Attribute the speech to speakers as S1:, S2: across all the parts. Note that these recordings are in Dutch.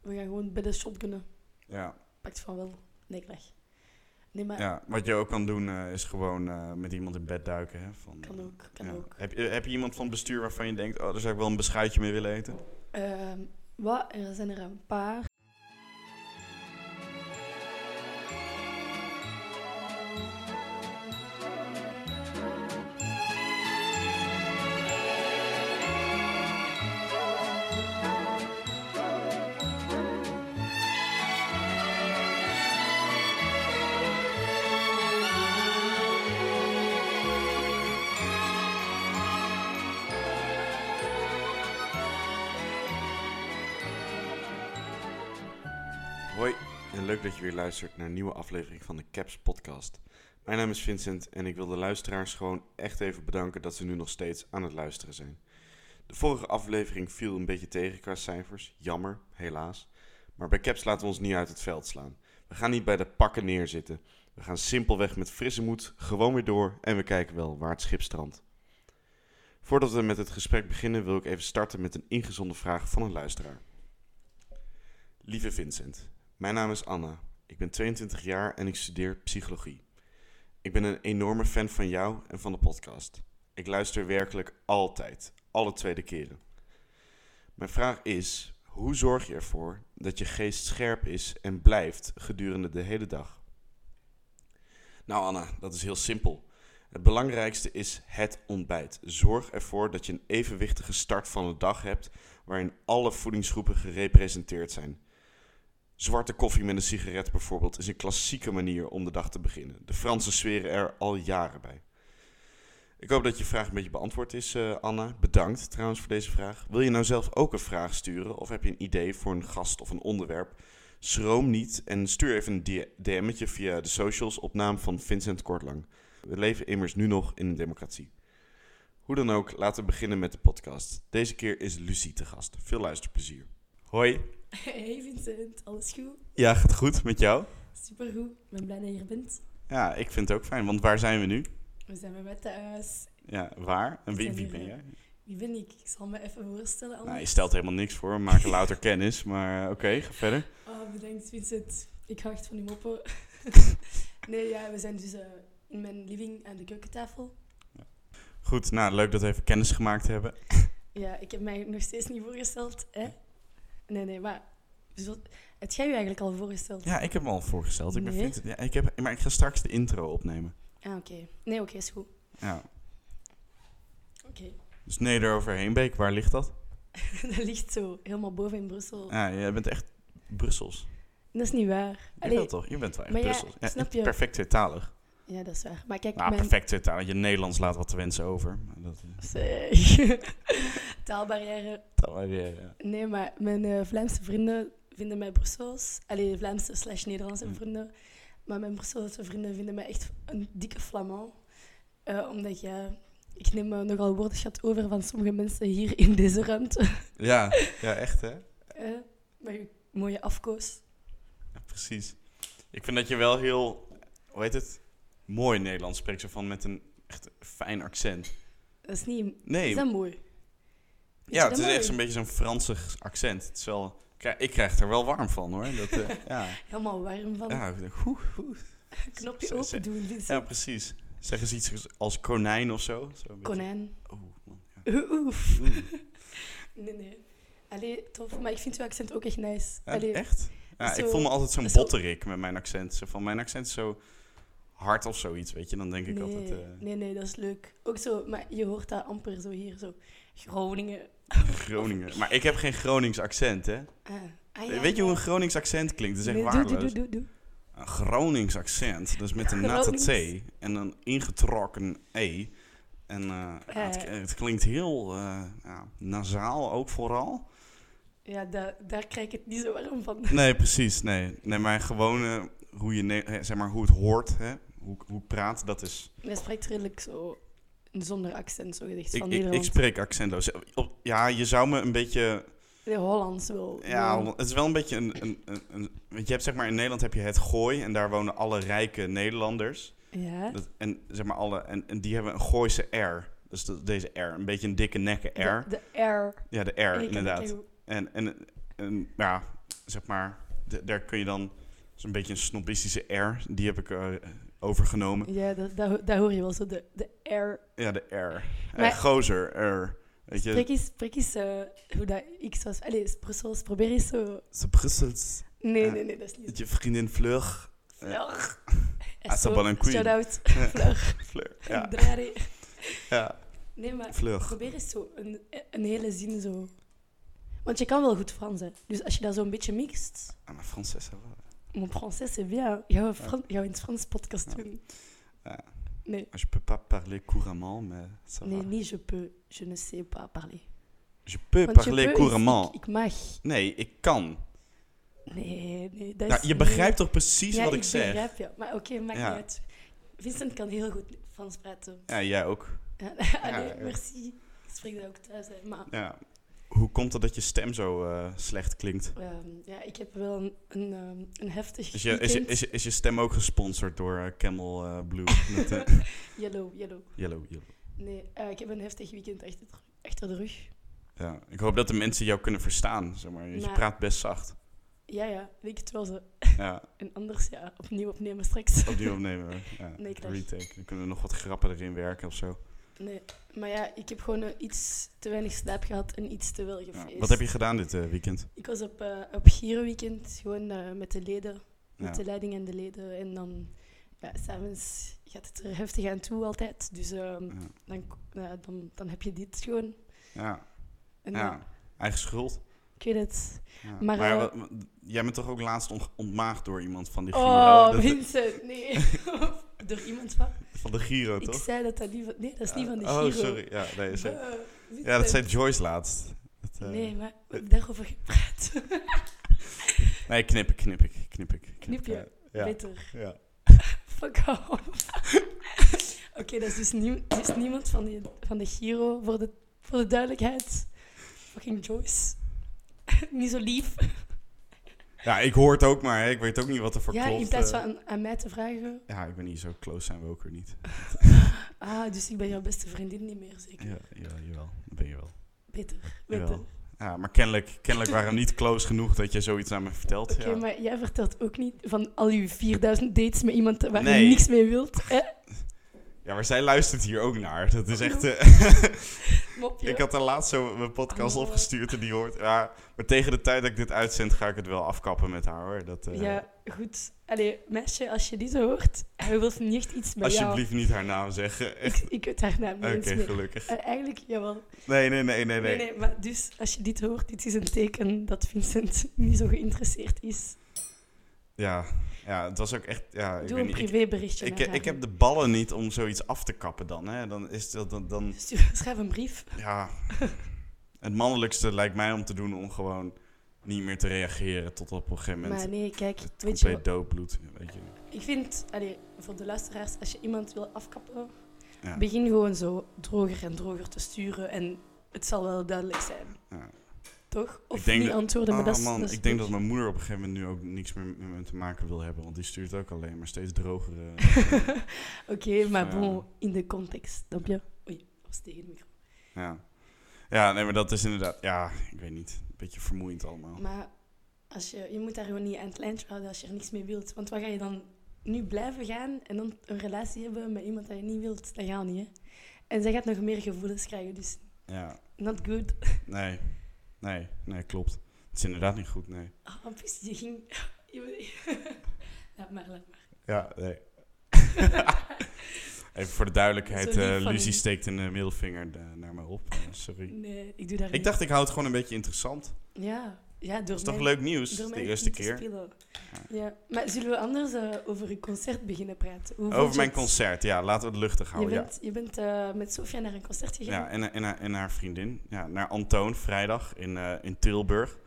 S1: we gaan gewoon bij de shotgunnen.
S2: Ja.
S1: Pakt van wel. Nee, ik leg. Nee, maar
S2: ja, wat je ook kan doen eh, is gewoon eh, met iemand in bed duiken. Hè, van, eh,
S1: kan ook. Kan
S2: ja.
S1: ook.
S2: Heb, je- heb je iemand van het bestuur waarvan je denkt, oh, daar zou ik wel een beschuitje mee willen eten?
S1: Ehm, wat? Er zijn er een paar.
S2: Hoi en leuk dat je weer luistert naar een nieuwe aflevering van de Caps Podcast. Mijn naam is Vincent en ik wil de luisteraars gewoon echt even bedanken dat ze nu nog steeds aan het luisteren zijn. De vorige aflevering viel een beetje tegen qua cijfers, jammer, helaas. Maar bij Caps laten we ons niet uit het veld slaan. We gaan niet bij de pakken neerzitten. We gaan simpelweg met frisse moed gewoon weer door en we kijken wel waar het schip strandt. Voordat we met het gesprek beginnen wil ik even starten met een ingezonde vraag van een luisteraar. Lieve Vincent, mijn naam is Anna. Ik ben 22 jaar en ik studeer psychologie. Ik ben een enorme fan van jou en van de podcast. Ik luister werkelijk altijd, alle tweede keren. Mijn vraag is: hoe zorg je ervoor dat je geest scherp is en blijft gedurende de hele dag? Nou, Anna, dat is heel simpel. Het belangrijkste is het ontbijt. Zorg ervoor dat je een evenwichtige start van de dag hebt waarin alle voedingsgroepen gerepresenteerd zijn. Zwarte koffie met een sigaret bijvoorbeeld is een klassieke manier om de dag te beginnen. De Fransen zweren er al jaren bij. Ik hoop dat je vraag een beetje beantwoord is, eh, Anna. Bedankt trouwens voor deze vraag. Wil je nou zelf ook een vraag sturen of heb je een idee voor een gast of een onderwerp? Schroom niet en stuur even een D- DM'tje via de socials op naam van Vincent Kortlang. We leven immers nu nog in een democratie. Hoe dan ook, laten we beginnen met de podcast. Deze keer is Lucie te gast. Veel luisterplezier. Hoi.
S1: Hey Vincent, alles goed?
S2: Ja, gaat goed met jou?
S1: Supergoed. Ik ben blij dat je er bent.
S2: Ja, ik vind het ook fijn, want waar zijn we nu?
S1: We zijn weer met thuis.
S2: Ja, waar? En wie,
S1: Zijn
S2: wie
S1: hier,
S2: ben
S1: eh,
S2: jij?
S1: Wie ben ik? Ik zal me even voorstellen.
S2: Nou, je
S1: anders.
S2: stelt helemaal niks voor, we maken louter kennis, maar eh, oké, ga verder.
S1: Oh, bedankt Vincent. Ik hou echt van die moppen. nee, ja, we zijn dus eh, in mijn living aan de keukentafel.
S2: Goed, nou, leuk dat we even kennis gemaakt hebben.
S1: Ja, ik heb mij nog steeds niet voorgesteld, hè? Nee, nee, maar... Zo, het jij je eigenlijk al voorgesteld?
S2: Ja, ik heb me al voorgesteld. Ik ben
S1: Nee.
S2: Vincent. Ja, ik heb, maar ik ga straks de intro opnemen.
S1: Ah, oké. Nee, oké, is goed.
S2: Ja.
S1: Oké.
S2: Dus Neder Overheenbeek, waar ligt dat?
S1: dat ligt zo, helemaal boven in Brussel.
S2: Ja, jij bent echt Brussels.
S1: Dat is niet waar.
S2: Je
S1: Allee,
S2: wel toch? Je bent wel echt
S1: maar ja,
S2: Brussels.
S1: snap je?
S2: Perfect tweetalig.
S1: Ja, dat is waar. Maar kijk,
S2: Nou,
S1: mijn...
S2: perfect tweetalig. Je Nederlands laat wat te wensen over. Maar dat is
S1: Zeg. Taalbarrière.
S2: dan wel weer... ja.
S1: Nee, maar mijn eh, Vlaamse vrienden vinden mij Brussels. Allee, Vlaamse slash Nederlandse
S2: Mm.
S1: vrienden. Maar mijn Brusselse vrienden vinden mij echt een dikke flamand. Eh, omdat ik, ja, ik neem eh, nogal woordenschat over van sommige mensen hier in deze ruimte.
S2: Ja, ja, echt hè?
S1: Eh, met uw mooie afkoos.
S2: Ja, precies. Ik vind dat je wel heel, hoe heet het? Mooi Nederlands spreekt, zo van met een echt fijn accent.
S1: Dat is niet...
S2: Nee,
S1: Is dat mooi?
S2: ja,
S1: dat
S2: het is
S1: mooi?
S2: echt zo'n beetje zo'n Fransig accent. Het is wel, ik- ik krijg er wel warm van hoor. Dat, eh, ja,
S1: Helemaal warm van.
S2: ja, ik denk, hoe, hoe.
S1: Knopje
S2: Zo- zo-
S1: open doen, dus. Vincent.
S2: ja, precies. Zeggen ze iets als konijn of zo? zo een beetje-
S1: Konijn.
S2: Oeh, man, ja. Mm.
S1: Oeh, Oef.
S2: Oeh.
S1: Nee, nee. Allee, tof. Maar ik vind uw accent ook echt nice.
S2: Ja,
S1: Allee,
S2: echt? Ja, ik
S1: zo-
S2: voel me altijd zo'n
S1: zo-
S2: botterik met mijn accent. Zo van, mijn accent is zo hard of zoiets, weet je. Dan denk ik
S1: nee,
S2: altijd... eh,
S1: nee, nee, dat is leuk. Ook zo, maar je hoort dat amper zo hier, zo. Groningen.
S2: Groningen. Maar ik heb geen Gronings accent, hè?
S1: Ah, ah, ja,
S2: Weet je
S1: ja.
S2: hoe een Gronings accent klinkt? Dat is echt
S1: Nee,
S2: waardeloos.
S1: Doe, doe, doe, doe,
S2: Een Gronings accent, dus met een natte
S1: Gronings.
S2: T en een ingetrokken E. En eh, ja, het,
S1: Eh.
S2: het klinkt heel eh, ja, nasaal ook vooral.
S1: doe. Ja, da- daar krijg ik het niet zo warm van.
S2: Nee, precies. Nee, nee maar gewoon eh, hoe, je ne- eh, zeg maar, hoe het hoort, hè? Hoe, hoe ik praat, dat is...
S1: Hij spreekt redelijk zo zonder accent, zo gezegd,
S2: Ik,
S1: van
S2: ik, ik
S1: Nederland.
S2: spreek accentloos. Op- Ja, je zou me een beetje
S1: Nee, Hollands wel.
S2: Ja,
S1: Gewoon.
S2: want het is wel een beetje een, een, een, een- Want je hebt zeg maar in Nederland heb je het gooi en daar wonen alle rijke Nederlanders.
S1: Ja.
S2: Dat, en, zeg maar alle, en, en die hebben een Gooise R. Dus dat- deze R, een beetje een dikke nekken R.
S1: De, de R.
S2: Ja, de R
S1: Ik-
S2: inderdaad.
S1: ik-
S2: En, en, en ja, zeg maar, d- daar kun je dan zo'n beetje een snobistische R, die heb ik eh, overgenomen.
S1: Ja, dat, dat, ho- dat hoor je wel zo, de, de air.
S2: Ja, de R.
S1: Maar-
S2: Eh gozer, R. Weet je,
S1: Spreek eens, spreek eens eh, hoe dat X was. Allee, Brussels, probeer eens zo.
S2: ze Brussels,
S1: Nee,
S2: Ja.
S1: nee, nee, dat is niet
S2: je vriendin Fleur. Ja.
S1: Fleur.
S2: Ah, ze wel een queen.
S1: Shout-out, Fleur.
S2: Fleur,
S1: Ja.
S2: ja. ja.
S1: Nee, maar
S2: Fleur.
S1: probeer eens zo een, een hele zin zo... Want je kan wel goed Frans, hè. Dus als je dat zo een beetje mixt...
S2: Ah, maar Frans is wel.
S1: Mon français, c'est bien. Gaan we, Fran- gaan we in het Frans podcast
S2: Ja.
S1: doen?
S2: Ja.
S1: Nee.
S2: Je peux pas parler couramment, mais ça va.
S1: Nee, niet je peux. Je ne sais pas parler.
S2: Je peux
S1: Want je
S2: parler
S1: peux is
S2: couramment.
S1: Ik, ik mag.
S2: Nee, ik kan.
S1: Nee, nee. Dat
S2: Nou,
S1: is
S2: je
S1: niet-
S2: begrijpt toch precies
S1: Ja,
S2: wat ik, zeg?
S1: begrijp je. Maar oké, maakt
S2: Ja.
S1: niet uit. Vincent kan heel goed Frans praten.
S2: Ja, jij ook.
S1: Ja,
S2: ja.
S1: Allee, merci. Ik spreek dat ook thuis, hè. Maar
S2: Ja. Hoe komt het dat je stem zo eh, slecht klinkt?
S1: ehm, ja, ik heb wel een, een, ehm, een heftig
S2: Is je, is, je,
S1: weekend.
S2: is, je, is je stem ook gesponsord door eh, Camel eh, Blue? Met, eh,
S1: Yellow, yellow.
S2: yellow, yellow.
S1: Nee, eh, ik heb een heftig weekend achter, de- achter de rug.
S2: Ja, ik hoop dat de mensen jou kunnen verstaan. Zeg maar. Je
S1: Maar-
S2: praat best zacht.
S1: Ja, ja, weet ik het wel zo.
S2: Ja,
S1: En anders, ja, opnieuw opnemen straks.
S2: opnieuw opnemen. Ja,
S1: Nee, krijg.
S2: retake. Dan kunnen we nog wat grappen erin werken of zo.
S1: Nee, maar ja, ik heb gewoon eh, iets te weinig slaap gehad en iets te wel
S2: Ja.
S1: gefeest.
S2: Wat heb je gedaan dit eh, weekend?
S1: Ik was op, eh op Giro weekend, gewoon eh, met de leden,
S2: Ja.
S1: met de leiding en de leden. En dan, ja, s'avonds gaat het er heftig aan toe altijd. Dus ehm,
S2: Ja.
S1: dan, k- ja, dan, dan heb je dit gewoon.
S2: Ja.
S1: En,
S2: ja.
S1: eh,
S2: eigen schuld.
S1: ik weet het.
S2: Ja.
S1: Maar, eh,
S2: wat- wat- jij bent toch ook laatst on- ontmaagd door iemand van de Giro?
S1: Oh,
S2: Dat-
S1: Vincent, nee. Door iemand van...
S2: van de Giro,
S1: Ik
S2: toch?
S1: zei dat dat niet van... Nee, dat is niet van de
S2: oh,
S1: Giro.
S2: sorry. Ja, nee, ze-
S1: Bah,
S2: ja, dat
S1: Vincent.
S2: zei Joyce laatst. Dat, eh,
S1: Nee, maar we hebben daarover gepraat.
S2: nee, knip ik, knip ik, knip ik.
S1: Knip je?
S2: Ja, ja,
S1: Beter.
S2: ja.
S1: Fuck off. Oké, dat is dus, nie- er is niemand van, die, van de Giro, voor de, voor de duidelijkheid. Fucking Joyce. Niet zo lief.
S2: Ja, ik hoor het ook maar. Hè. Ik weet ook niet wat er voor
S1: ja,
S2: klopt.
S1: in plaats
S2: eh.
S1: van aan mij te vragen.
S2: Ja, ik ben niet zo close, zijn we ook weer niet.
S1: Ah, dus ik ben jouw beste vriendin niet meer, zeker.
S2: Ja, jawel, jawel. Dat ben je wel.
S1: Beter, beter.
S2: Jawel. Ja, maar kennelijk, kennelijk waren we niet close genoeg dat je zoiets aan me vertelt.
S1: Oké,
S2: ja.
S1: maar jij vertelt ook niet van al je 4000 dates met iemand waar
S2: Nee.
S1: je niks mee wilt. Hè?
S2: ja, maar zij luistert hier ook naar. Dat
S1: Oh.
S2: is echt... eh,
S1: Mopje.
S2: Ik had daar laatst zo mijn podcast
S1: Oh.
S2: opgestuurd en die hoort. Ja, maar tegen de tijd dat ik dit uitzend, ga ik het wel afkappen met haar hoor. Dat, eh,
S1: Ja, goed. Allee, meisje, als je dit hoort, hij wil niet echt iets met jou.
S2: Alsjeblieft niet haar naam zeggen.
S1: Ik,
S2: Echt.
S1: ik weet haar naam niet
S2: Oké,
S1: eens meer.
S2: gelukkig.
S1: Eh, eigenlijk, jawel.
S2: Nee, nee, nee, nee,
S1: Nee,
S2: nee.
S1: nee, maar dus als je dit hoort, dit is een teken dat Vincent niet zo geïnteresseerd is.
S2: Ja, ja, het was ook echt. Ja, ik
S1: Doe
S2: weet
S1: een
S2: niet. Ik,
S1: privéberichtje
S2: ik,
S1: naar
S2: ik
S1: haar.
S2: heb de ballen niet om zoiets af te kappen dan. Hè. Dan is dat dan, dan
S1: Stuur- Schrijf een brief.
S2: ja. Het mannelijkste lijkt mij om te doen om gewoon niet meer te reageren tot op een gegeven moment.
S1: Maar nee, kijk,
S2: het
S1: weet je
S2: compleet doodbloed. Weet je.
S1: wat- Ik vind, allee, voor de luisteraars, als je iemand wil afkappen,
S2: Ja.
S1: begin gewoon zo droger en droger te sturen en het zal wel duidelijk zijn,
S2: Ja.
S1: toch? Of
S2: Ik denk
S1: niet
S2: dat-
S1: antwoorden, maar
S2: Ah,
S1: dat is...
S2: man,
S1: dat is
S2: ik denk
S1: goed.
S2: dat mijn moeder op een gegeven moment nu ook niks meer met me te maken wil hebben. Want die stuurt ook alleen maar steeds drogere.
S1: Oké, maar
S2: Ja.
S1: bon, in de context, snap je? Oei, dat was tegen de micro.
S2: ja. ja, nee, maar dat is inderdaad. Ja, ik weet niet. Een beetje vermoeiend allemaal.
S1: Maar als je, je moet daar gewoon niet aan het lijntje houden als je er niks mee wilt. Want wat ga je dan nu blijven gaan en dan een relatie hebben met iemand dat je niet wilt? Dat gaat niet, hè? En zij gaat nog meer gevoelens krijgen, dus
S2: Ja,
S1: not good.
S2: nee. Nee, nee, klopt. Het is inderdaad niet goed, nee.
S1: Oh, en plus, je ging... je moet- laat maar, laat maar.
S2: Ja, nee. Even voor de duidelijkheid,
S1: Zo lief
S2: eh,
S1: van
S2: Lucie
S1: u.
S2: steekt een eh, middelvinger eh, naar me op. Eh, sorry.
S1: Nee, ik doe daar
S2: Ik dacht, ik hou het gewoon een beetje interessant.
S1: niet. Ja, ja, door
S2: Dat is toch
S1: mij-
S2: leuk nieuws?
S1: door
S2: De
S1: mij
S2: eerste
S1: niet te
S2: keer.
S1: spelen. Ja, maar zullen we anders eh, over je concert beginnen praten? Hoe vond
S2: Over
S1: je
S2: mijn
S1: het?
S2: concert, ja. Laten we het luchtig
S1: Je
S2: houden. ja.
S1: bent, je bent eh, met Sofia naar een concert gegaan.
S2: Ja, en, en, haar- en haar vriendin. Ja, naar Antoon vrijdag in, eh, in Tilburg.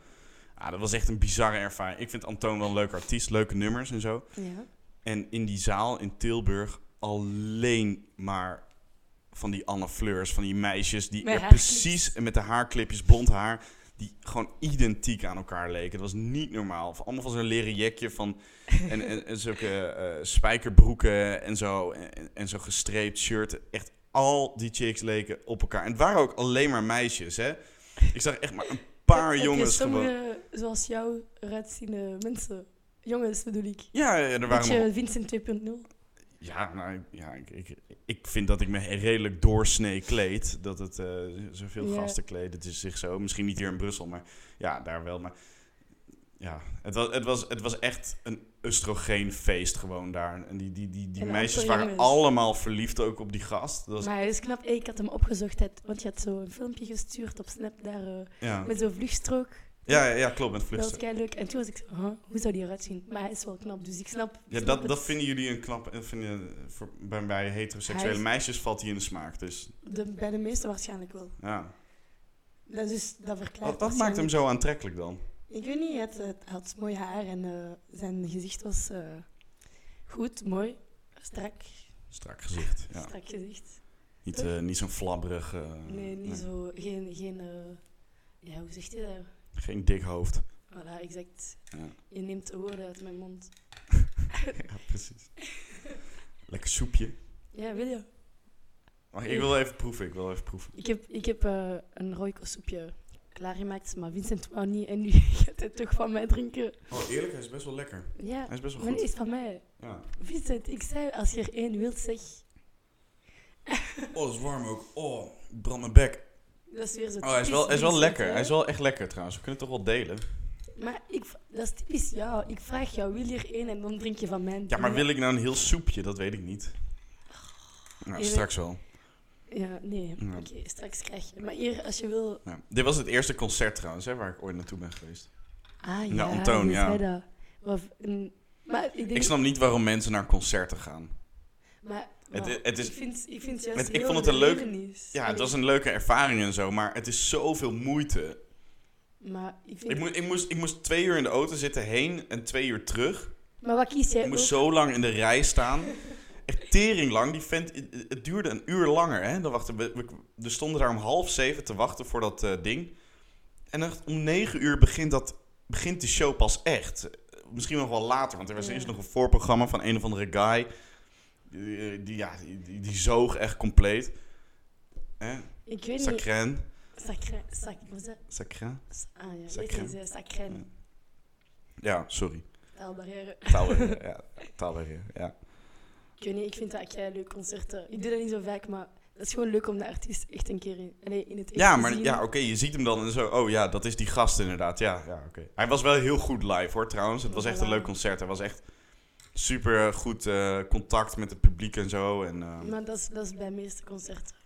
S2: Ah, dat was echt een bizarre ervaring. Ik vind Antoon wel een leuk artiest, leuke nummers en zo.
S1: Ja.
S2: En in die zaal in Tilburg alleen maar van die Anne Fleurs, van die meisjes die
S1: Met
S2: er
S1: haarklips.
S2: precies en met de haarklipjes, blond haar, die gewoon identiek aan elkaar leken. Dat was niet normaal. Of Allemaal van zo'n leren jekje van en, en, en zulke eh, spijkerbroeken en zo en, en zo'n gestreept shirt. Echt al die chicks leken op elkaar. En het waren ook alleen maar meisjes, hè? Ik zag echt maar een paar
S1: heb je
S2: jongens
S1: sommige,
S2: gewoon.
S1: zoals jou, eruitziende mensen. Jongens, bedoel ik.
S2: Ja, ja, er waren
S1: Beetje
S2: nog...
S1: Vincent 2.0.
S2: Ja, nou, ja ik, ik, ik vind dat ik me redelijk doorsnee kleed. Dat het eh, zoveel
S1: Ja.
S2: gasten kleden. Het is zich zo. Misschien niet hier in Brussel, maar ja, daar wel. Maar ja, het was, het was, het was echt een oestrogeenfeest gewoon daar. En die, die, die, die
S1: En
S2: meisjes
S1: amper
S2: waren
S1: jongens.
S2: allemaal verliefd ook op die gast. Dat was,
S1: Maar het is knap. Ik had hem opgezocht, hè, want je had zo een filmpje gestuurd op Snap daar, eh,
S2: ja.
S1: met zo'n vluchtstrook.
S2: Ja, ja, ja, klopt, met
S1: Dat was
S2: vluchten.
S1: kei leuk. En toen was ik zo, huh, hoe zou die eruit zien? Maar hij is wel knap, dus ik snap.
S2: Ja,
S1: snap
S2: dat,
S1: het.
S2: dat vinden jullie een knap... eh, Vinden, voor, bij, bij
S1: Hij
S2: heteroseksuele
S1: is-
S2: meisjes valt hij in de smaak. Dus
S1: De, bij de meesten waarschijnlijk wel.
S2: ja.
S1: Dat, dus, dat verklaart
S2: Wat, wat maakt hem
S1: waarschijnlijk-
S2: zo aantrekkelijk dan?
S1: Ik weet niet, hij had, hij had mooi haar en eh, zijn gezicht was eh, goed, mooi, strak.
S2: Strak gezicht, ja.
S1: Strak gezicht.
S2: Niet, eh, niet zo'n flabberig. eh,
S1: Nee, niet zo, geen, geen eh, ja, hoe zegt hij dat?
S2: Geen dik hoofd.
S1: Voilà, exact.
S2: Ja.
S1: Je neemt de woorden uit mijn mond.
S2: ja, precies. Lekker soepje.
S1: Ja, wil je?
S2: Maar ik wil even proeven, ik wil even proeven.
S1: Ik heb, ik heb eh, een Royco soepje klaargemaakt, maar Vincent wou niet en nu gaat hij toch van mij drinken.
S2: Oh, eerlijk, hij is best wel lekker.
S1: Ja,
S2: Hij is best wel
S1: maar
S2: goed.
S1: die is van mij.
S2: Ja.
S1: Vincent, ik zei als je er één wilt, zeg.
S2: Oh, het is warm ook. Oh, ik brand mijn bek.
S1: Dat is weer zo
S2: Oh, hij is wel, hij
S1: typisch
S2: is wel
S1: Vincent,
S2: lekker.
S1: hè?
S2: Hij is wel echt lekker trouwens. We kunnen het toch wel delen.
S1: Maar ik, v- dat is typisch jou. Ik vraag jou, wil je er één en dan drink je van mijn.
S2: Ja, maar wil ik nou een heel soepje? Dat weet ik niet. Nou,
S1: Eerlijk.
S2: straks wel.
S1: Ja, nee.
S2: Ja.
S1: Oké, straks krijg je. Maar hier, als je wil...
S2: Ja. Dit was het eerste concert trouwens, hè, waar ik ooit naartoe ben geweest.
S1: Ah ja,
S2: Ja, Antoon,
S1: hoe
S2: ja.
S1: zei dat? Wat- mm, Maar ik denk...
S2: Ik snap niet waarom mensen naar concerten gaan.
S1: Maar,
S2: Het-
S1: maar
S2: het is-
S1: ik vind, ik vind juist
S2: Het- ik
S1: heel
S2: vond het een leuk-
S1: ironisch.
S2: Ja, het was een leuke ervaring en zo, maar het is zoveel moeite.
S1: Maar, ik vind,
S2: Ik, moest, ik, moest, ik moest twee uur in de auto zitten heen en twee uur terug.
S1: maar wat kies jij
S2: Ik moest
S1: ook?
S2: zo lang in de rij staan. Echt tering lang. Die vent, het duurde een uur langer. Hè? Dan wachten we, we, we stonden daar om half zeven te wachten voor dat eh, ding. En echt om negen uur begint, dat, begint de show pas echt. Misschien nog wel later, want er was
S1: Ja.
S2: eerst nog een voorprogramma van een of andere guy. Die, eh, die, ja, die, die, die zoog echt compleet. Hè?
S1: Ik weet niet.
S2: Sacren.
S1: Sacré... Sac, hoe is dat?
S2: Sacren?
S1: S- Ah ja,
S2: Sacré.
S1: sacré. Sacré.
S2: Ja. Ja, sorry.
S1: Taalbarrière.
S2: Taalbarrière, ja. Taalbarrière, ja.
S1: Ik weet niet, ik vind dat echt leuk concerten. Ik doe dat niet zo vaak, maar het is gewoon leuk om de artiest echt een keer in, allee, in het echt
S2: Ja,
S1: te
S2: maar
S1: zien.
S2: ja, oké, je ziet hem dan en zo. Oh ja, dat is die gast inderdaad. Ja, ja oké. Hij was wel heel goed live hoor, trouwens. Het was echt een leuk concert. Hij was echt super eh, goed eh, contact met het publiek en zo. En, eh,
S1: Maar dat is, dat is bij de meeste concerten.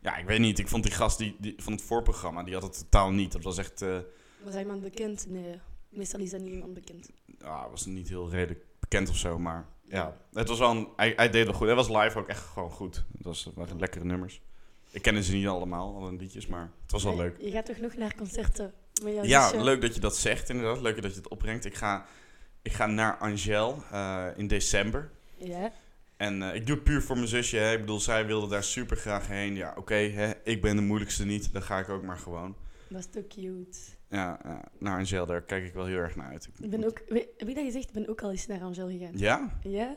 S2: ja, ik weet niet. Ik vond die gast die, die, van het voorprogramma, die had het totaal niet. Dat was echt, eh
S1: Was iemand bekend? Nee, meestal is dat niet iemand bekend.
S2: ah, was niet heel redelijk bekend of zo. Maar ja, het was wel een, hij, hij deed wel goed. Hij was live ook echt gewoon goed. Het was, het waren lekkere nummers. Ik kende ze niet allemaal, alle liedjes, maar het was wel
S1: Maar
S2: leuk.
S1: Je gaat toch nog naar concerten met jouw
S2: Ja,
S1: zusje?
S2: leuk dat je dat zegt inderdaad. Leuk dat je het opbrengt. Ik ga, ik ga naar Angel eh, in december.
S1: Ja,
S2: En eh, ik doe het puur voor mijn zusje. Hè. Ik bedoel, zij wilde daar super graag heen. Ja, oké, hè, ik ben de moeilijkste niet. Dan ga ik ook maar gewoon.
S1: dat is toch cute.
S2: Ja, ja, naar Angel, daar kijk ik wel heel erg naar uit.
S1: Ik ben ook, we- heb ik dat gezegd? Ik ben ook al eens naar Angel gegaan.
S2: Ja?
S1: Ja?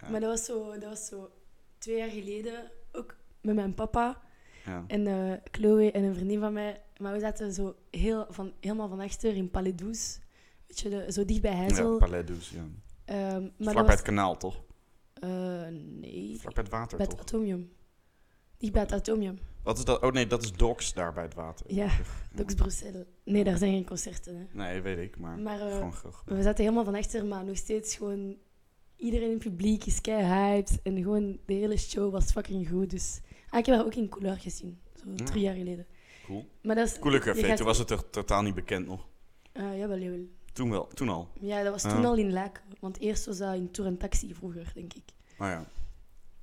S2: Ja.
S1: Maar dat was, zo, dat was zo twee jaar geleden, ook met mijn papa
S2: Ja.
S1: en eh, Chloe en een vriendin van mij. Maar we zaten zo heel van, helemaal van achter in Palais Douce. Weet je, de- zo dicht bij
S2: Ja,
S1: Heizel.
S2: Palais Douce, ja.
S1: Ehm, maar
S2: Vlak
S1: dat
S2: bij
S1: was,
S2: het kanaal, toch?
S1: eh, nee,
S2: Vlak bij het water,
S1: bij het
S2: toch?
S1: Atomium. Dicht bij het Atomium.
S2: Wat is dat? Oh nee, dat is Docs daar bij het water.
S1: Ja, Docs Bruxelles. Nee, daar zijn geen concerten. Hè.
S2: Nee, weet ik, maar,
S1: Maar eh,
S2: gewoon graag.
S1: we zaten helemaal van achter, maar nog steeds gewoon... Iedereen in het publiek is kei hyped. En gewoon de hele show was fucking goed. Dus ah, ik heb haar ook in Couleur gezien. Zo
S2: Ja.
S1: drie jaar geleden.
S2: Cool.
S1: Maar dat is...
S2: Coole
S1: je
S2: café,
S1: gaat-
S2: toen was het toch totaal niet bekend nog.
S1: Eh, jawel, jawel.
S2: Toen wel, toen al.
S1: Ja, dat was
S2: Ja.
S1: toen al in Laak. Want eerst was dat in Tour en Taxi vroeger, denk ik.
S2: Oh ja.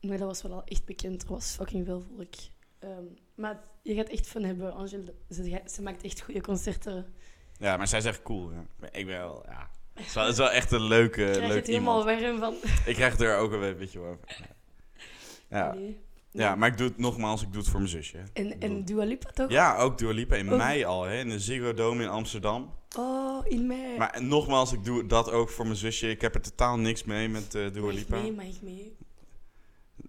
S1: Maar dat was wel al echt bekend. Er was fucking veel volk. Ehm, maar je gaat echt van hebben, Angel. Ze, ga- ze maakt echt goede
S2: Eh,
S1: concerten.
S2: Ja, maar zij is echt cool. Ja. Maar Ik ben wel, ja. Het is wel, het is wel echt een leuke,
S1: Ik krijg
S2: leuk
S1: het
S2: iemand.
S1: helemaal warm van.
S2: Ik krijg er ook een beetje warm. van. Ja.
S1: Nee.
S2: ja, maar ik doe het nogmaals, ik doe het voor mijn zusje. hè.
S1: En, en Dua Lipa toch?
S2: Ja, ook Dua Lipa in
S1: Ook-
S2: mei al, hè, in de Ziggo Dome in Amsterdam.
S1: Oh, in mij.
S2: Maar nogmaals, ik doe dat ook voor mijn zusje. Ik heb er totaal niks mee met eh Dua
S1: Mag ik
S2: Lipa.
S1: mee, mag ik mee?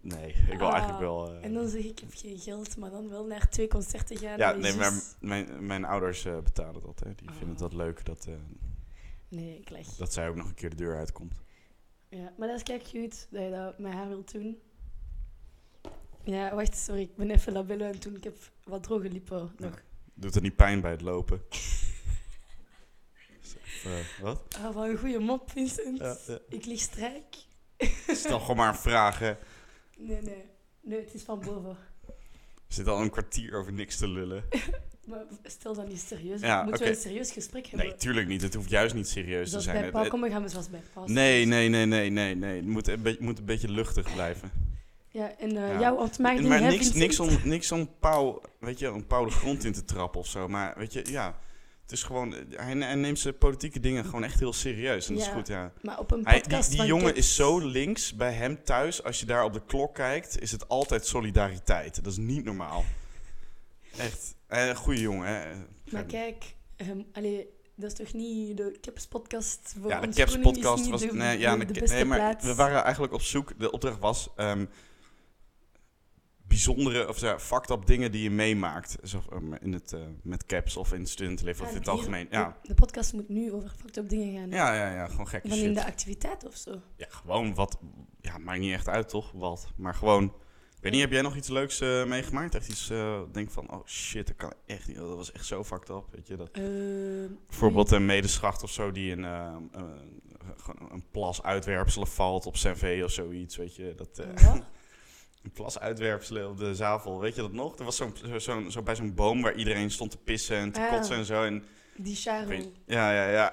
S2: Nee, ik wil
S1: Ah,
S2: eigenlijk wel... eh,
S1: En dan zeg ik, ik heb geen geld, maar dan wel naar twee concerten gaan.
S2: ja,
S1: met
S2: nee, maar
S1: zus.
S2: mijn, mijn ouders eh, betalen dat, hè. Die vinden
S1: dus Ah.
S2: dat leuk dat, eh,
S1: Nee, ik leg.
S2: dat zij ook nog een keer de deur uitkomt.
S1: Ja, maar dat is kijk cute dat je dat met haar wilt doen. Ja, wacht, sorry, ik ben even labello aan het doen. Ik heb wat droge lippen
S2: Ja.
S1: nog.
S2: Doet het niet pijn bij het lopen? Is het, eh, wat?
S1: Ah, wat een goede mop, Vincent.
S2: Ja, ja.
S1: Ik lig strijk.
S2: Stel gewoon maar een vraag, hè.
S1: Nee, nee. Nee, het is van boven.
S2: We zitten al een kwartier over niks te lullen.
S1: Maar stel dan niet serieus.
S2: Ja,
S1: Moeten
S2: oké.
S1: we een serieus gesprek hebben?
S2: Nee, tuurlijk niet. Het hoeft juist niet serieus te
S1: Zoals
S2: zijn.
S1: bij
S2: Het-
S1: Paul,
S2: het-
S1: kom, we gaan eens zoals bij Paul.
S2: nee, nee, nee, nee, nee, nee. Het moet een, beetje, moet een beetje luchtig blijven.
S1: Ja, en eh
S2: Ja.
S1: jou ontmaakt niet,
S2: maar
S1: hè,
S2: niks, niks,
S1: Vincent?
S2: om, niks om Pauw, weet je, om Pauw de grond in te trappen of zo. Maar weet je, ja, het is gewoon, eh, hij, hij neemt zijn politieke dingen gewoon echt heel serieus. En dat is
S1: Ja.
S2: goed, ja.
S1: Maar op een
S2: Hij,
S1: podcast
S2: die die
S1: van
S2: jongen
S1: Caps-
S2: is zo links bij hem thuis. Als je daar op de klok kijkt, is het altijd solidariteit. Dat is niet normaal. Echt. Eh, goeie jongen, hè.
S1: Maar kijk, ehm, allee, dat is toch niet de Caps podcast voor
S2: Ja, de
S1: ons
S2: Caps
S1: groening is
S2: podcast
S1: niet
S2: was.
S1: de,
S2: nee, ja,
S1: de-
S2: de
S1: de
S2: Ca-
S1: beste
S2: nee, maar
S1: plaats.
S2: we waren eigenlijk op zoek. De opdracht was. ehm, bijzondere of zo, fucked up dingen die je meemaakt. Zo, ehm, in het, eh, met caps of in studentleven
S1: Ja,
S2: of in het
S1: hier-
S2: algemeen. Ja.
S1: De, de podcast moet nu over fucked up dingen gaan.
S2: Ja, ja, ja, gewoon gekke
S1: Van in
S2: shit.
S1: de activiteit of zo.
S2: Ja, gewoon wat. Ja, maakt niet echt uit toch? Wat. Maar gewoon. Ik weet niet, heb jij nog iets leuks eh, meegemaakt? Echt iets, eh, denk van, oh shit, dat kan echt niet. Dat was echt zo fucked up, weet je. Dat,
S1: Ehm,
S2: Bijvoorbeeld een medeschacht of zo die in eh, eh, gewoon een plas uitwerpselen valt op zijn vee of zoiets, weet je. Dat, eh,
S1: Wat?
S2: een plas uitwerpselen op de zavel, weet je dat nog? Er was zo'n, zo, zo'n- zo bij zo'n boom waar iedereen stond te pissen en te
S1: Ah.
S2: kotsen en zo. En,
S1: Die
S2: ik
S1: Charo.
S2: weet- ja, ja, ja.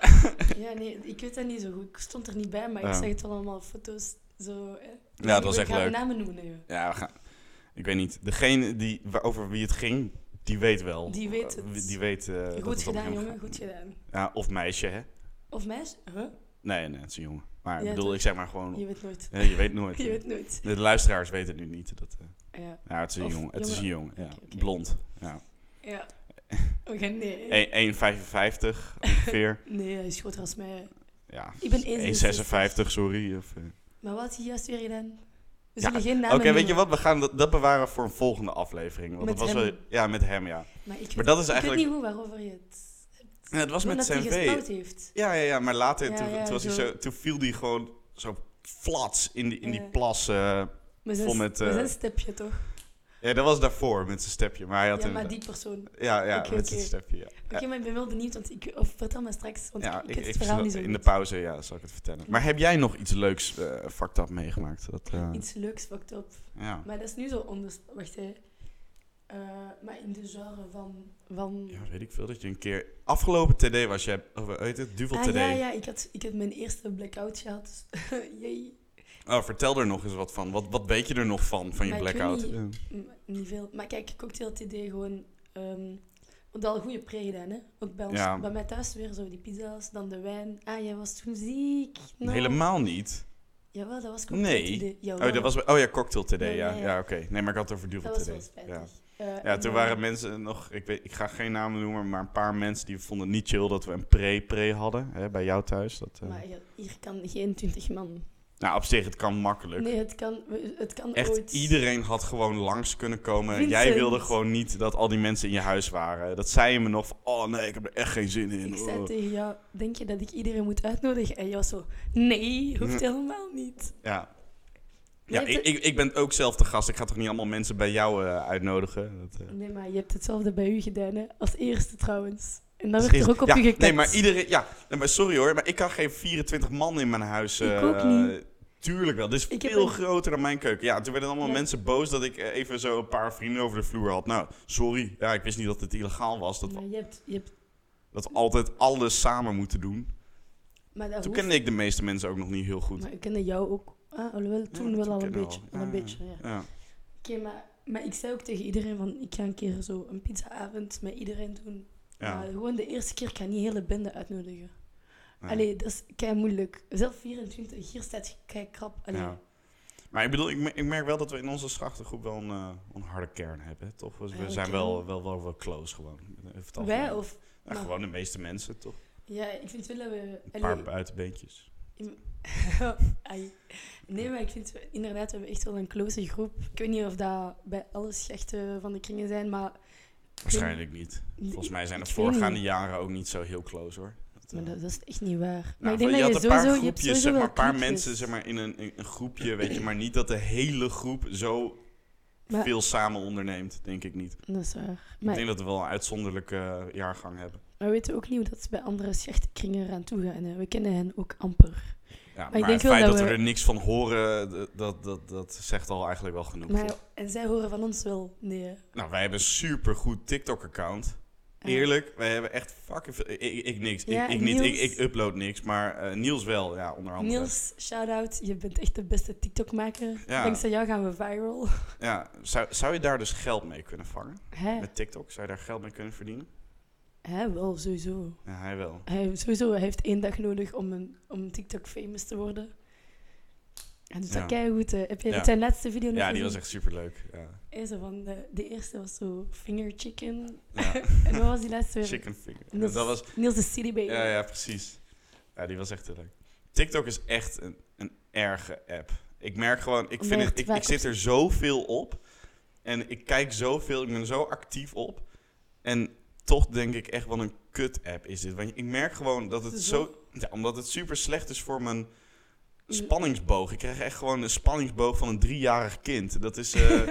S1: Ja, nee, ik weet dat niet zo goed. Ik stond er niet bij, maar
S2: Ja.
S1: ik zag het wel allemaal op foto's. Zo, hè.
S2: Ja, dat was
S1: Ik
S2: echt
S1: ga
S2: leuk.
S1: namen noemen. hè.
S2: Ja, we gaan, ik weet niet. Degene die, over wie het ging, die weet wel.
S1: Die weet het.
S2: Eh, Die weet, eh, dat het om
S1: Goed gedaan,
S2: hem
S1: jongen.
S2: gaat.
S1: Goed gedaan.
S2: Ja, of meisje, hè?
S1: Of meisje? Huh?
S2: Nee, nee, het is een jongen. Maar ik
S1: Ja,
S2: bedoel,
S1: toch?
S2: ik zeg maar gewoon...
S1: Je weet nooit.
S2: eh, je weet nooit.
S1: Je
S2: hè.
S1: weet nooit.
S2: De luisteraars weten het nu niet. Dat, eh,
S1: Ja.
S2: Ja, het is een
S1: Of
S2: jongen. Het is een jongen, ja.
S1: Oké, oké.
S2: Blond. Ja.
S1: ja. We gaan nee.
S2: E- 1,55 ongeveer.
S1: Nee, hij is groter als mij.
S2: ja.
S1: Ik ben
S2: 1,56, sorry. Of, eh.
S1: Maar wat had hij juist weer gedaan? We
S2: Ja,
S1: zullen geen
S2: Oké,
S1: namen
S2: weet je
S1: noemen.
S2: wat? We gaan dat, dat bewaren voor een volgende aflevering. Want
S1: Met
S2: dat was
S1: hem.
S2: Wel, ja, met hem, ja.
S1: Maar ik weet,
S2: Maar dat is
S1: ik weet
S2: eigenlijk-
S1: niet hoe waarover je het...
S2: Ja, het was met
S1: Omdat hij
S2: zijn
S1: gespouwd
S2: V.
S1: heeft.
S2: Ja, ja, ja, maar later,
S1: Ja,
S2: toen,
S1: ja,
S2: toen was hij
S1: zo.
S2: zo, toen viel hij gewoon zo flats in die, in die
S1: Ja.
S2: plas. eh.
S1: Met zijn,
S2: Vol met,
S1: met
S2: eh,
S1: zijn stepje, toch?
S2: ja, dat was daarvoor met zijn stepje. Maar hij had
S1: Ja, maar
S2: inderdaad-
S1: die persoon. Oké,
S2: ja, ja
S1: Oké,
S2: met
S1: oké.
S2: zijn stepje. Ja,
S1: maar ik ben wel benieuwd, want ik... Of vertel me straks, want
S2: ja
S1: ik, ik weet het verhaal niet zo
S2: in de
S1: goed.
S2: pauze ja, zal ik het vertellen. Maar heb jij nog iets leuks eh fucked up meegemaakt? Dat, eh,
S1: Iets leuks fucked up.
S2: ja.
S1: Maar dat is nu zo anders. Wacht, hè. Eh, maar in de genre van... van...
S2: Ja, weet ik veel dat je een keer afgelopen TD was. Jij, of, eh, heet het Duvel
S1: ah,
S2: TD.
S1: ja, ja, ik had, ik had mijn eerste blackout gehad. Dus, jee.
S2: Oh, vertel er nog eens wat van. Wat, wat weet je er nog van, van je
S1: Maar ik weet
S2: blackout?
S1: niet-
S2: Ja.
S1: Mm, Niet veel. Maar kijk, cocktail TD gewoon. ehm we hadden al goede pre gedaan, hè? Ook bij ons.
S2: Ja.
S1: Bij mij thuis weer zo die pizza's, dan de wijn. Ah, jij was toen ziek. Nou.
S2: Helemaal niet.
S1: Jawel, dat was cocktail
S2: Nee.
S1: TD. Jawel.
S2: Oh, dat was, bij- oh ja, Cocktail TD,
S1: Nee,
S2: ja.
S1: nee,
S2: Ja, oké. Nee, maar ik had het over Duvel
S1: Dat was
S2: TD.
S1: wel spijtig.
S2: Ja.
S1: Eh,
S2: ja,
S1: en
S2: toen
S1: dan-
S2: waren mensen nog... Ik, weet, ik ga geen namen noemen, maar een paar mensen die vonden het niet chill dat we een pre-pre hadden. Hè, bij jou thuis. Dat, eh.
S1: Maar ja, hier kan geen 20 man.
S2: Nou, op zich, het kan makkelijk.
S1: Nee, het kan, we- het kan
S2: Echt,
S1: ooit.
S2: iedereen had gewoon langs kunnen komen. Jij
S1: Vincent.
S2: wilde gewoon niet dat al die mensen in je huis waren. Dat zei je me nog van, oh nee, ik heb er echt geen zin in.
S1: Ik
S2: oh.
S1: zei tegen jou, denk je dat ik iedereen moet uitnodigen? En jij was zo, nee, hoeft helemaal niet.
S2: Ja. Ja,
S1: Nee,
S2: ik, ik, ik ben ook zelf de gast. Ik ga toch niet allemaal mensen bij jou eh, uitnodigen? Dat, eh.
S1: Nee, maar je hebt hetzelfde bij u gedaan, hè? Als eerste trouwens. En dan
S2: dat
S1: werd
S2: is-
S1: er ook op
S2: ja,
S1: u gekeken.
S2: Nee, maar iedereen... Ja, nee, maar sorry hoor, maar ik kan geen 24 man in mijn huis...
S1: Ik
S2: eh,
S1: ook niet.
S2: Tuurlijk wel, dit is
S1: Ik heb
S2: veel
S1: een-
S2: groter dan mijn keuken. Ja, toen werden allemaal
S1: Ja.
S2: mensen boos dat ik eh, even zo een paar vrienden over de vloer had. Nou, sorry. Ja, ik wist niet dat het illegaal was. Dat, we-
S1: Maar je hebt, je hebt,
S2: dat we altijd alles samen moeten doen.
S1: maar dat
S2: Toen
S1: hoeft-
S2: kende ik de meeste mensen ook nog niet heel goed.
S1: Maar ik kende jou ook. Ah, alhoewel, toen
S2: Ja,
S1: wel al een
S2: kende we
S1: beetje.
S2: Ja,
S1: al een
S2: ja.
S1: beetje, ja. Oké,
S2: Ja.
S1: maar, maar ik zei ook tegen iedereen van, ik ga een keer zo een pizzaavond met iedereen doen.
S2: Ja.
S1: Maar gewoon de eerste keer kan niet hele bende uitnodigen.
S2: Ja.
S1: Allee, dat is kei moeilijk. Zelf 24, hier staat kei krap. Allee.
S2: Ja. Maar ik bedoel, ik, me- ik merk wel dat we in onze strachtergroep wel een, eh, een harde kern hebben, hè, toch? We- We
S1: Harde
S2: zijn
S1: kern.
S2: wel, wel, wel, wel close gewoon. Over het
S1: Wij
S2: algemeen.
S1: of...
S2: Ja,
S1: maar-
S2: gewoon de meeste mensen, toch?
S1: Ja, ik vind wel dat we...
S2: Een paar
S1: allee,
S2: buitenbeentjes.
S1: Ai. Nee, maar ik vind we- inderdaad, we hebben echt wel een close groep. Ik weet niet of dat bij alle schechten van de kringen zijn, maar...
S2: Waarschijnlijk niet. Volgens mij zijn de
S1: Ik weet niet.
S2: voorgaande jaren ook niet zo heel close hoor. Dat,
S1: Maar
S2: eh,
S1: dat, dat is echt niet waar. Maar
S2: Nou,
S1: ik denk
S2: je
S1: dat
S2: had
S1: je
S2: een paar
S1: sowieso... je hebt sowieso
S2: groepjes, zeg maar,
S1: wel
S2: een paar
S1: clubjes.
S2: mensen zeg maar, in een, in een groepje, weet je, maar niet dat de hele groep zo
S1: Maar-
S2: veel samen onderneemt, denk ik niet.
S1: Dat is waar.
S2: Ik
S1: Maar
S2: denk dat we wel een uitzonderlijke eh, jaargang hebben.
S1: we weten ook niet hoe dat ze bij andere schechtkringen eraan toe gaan. hè. We kennen hen ook amper.
S2: Ja, maar
S1: denk
S2: het
S1: wel
S2: feit dat
S1: dat
S2: we...
S1: we-
S2: er niks van horen, d- dat, dat, dat zegt al eigenlijk wel genoeg.
S1: Maar, en zij horen van ons wel. Nee. Eh, hè.
S2: Nou, wij hebben een supergoed TikTok-account.
S1: Ja.
S2: Eerlijk, wij hebben echt fucking veel... Ik, ik, ik niks,
S1: Ja,
S2: ik, ik
S1: en
S2: niet, ik,
S1: Niels-
S2: ik upload niks, maar eh, Niels wel, ja, onder andere.
S1: Niels, shout-out. Je bent echt de beste TikTok-maker.
S2: Ja.
S1: Dankzij jou gaan we viral.
S2: Ja, zou, zou je daar dus geld mee kunnen vangen?
S1: Hè?
S2: Met TikTok, zou je daar geld mee kunnen verdienen?
S1: Hè, wel, sowieso.
S2: Ja, hij wel.
S1: Hij, sowieso, hij heeft één dag nodig om, een, om TikTok-famous te worden. En doet
S2: Ja.
S1: dat keigoed. hè. Heb je
S2: Ja.
S1: zijn laatste video nog
S2: Ja, die was
S1: gezien?
S2: echt superleuk. Ja.
S1: Hij zo van de, de eerste was zo finger chicken.
S2: Ja.
S1: en wat was die laatste? weer?
S2: Chicken finger.
S1: Niels,
S2: Dat was,
S1: Niels de City Baby.
S2: ja, ja, precies. Ja, die was echt heel leuk. TikTok is echt een, een erge app. Ik merk gewoon, ik, vind
S1: Omdat
S2: het, ik,
S1: wij
S2: ik zit er zoveel op. En ik kijk zoveel, ik ben er zo actief op. En toch denk ik echt, wat een kut app is dit. Want ik merk gewoon dat het
S1: Dus
S2: zo... Ja, omdat het super slecht is voor mijn spanningsboog. Ik krijg echt gewoon een spanningsboog van een driejarig kind. Dat is... eh,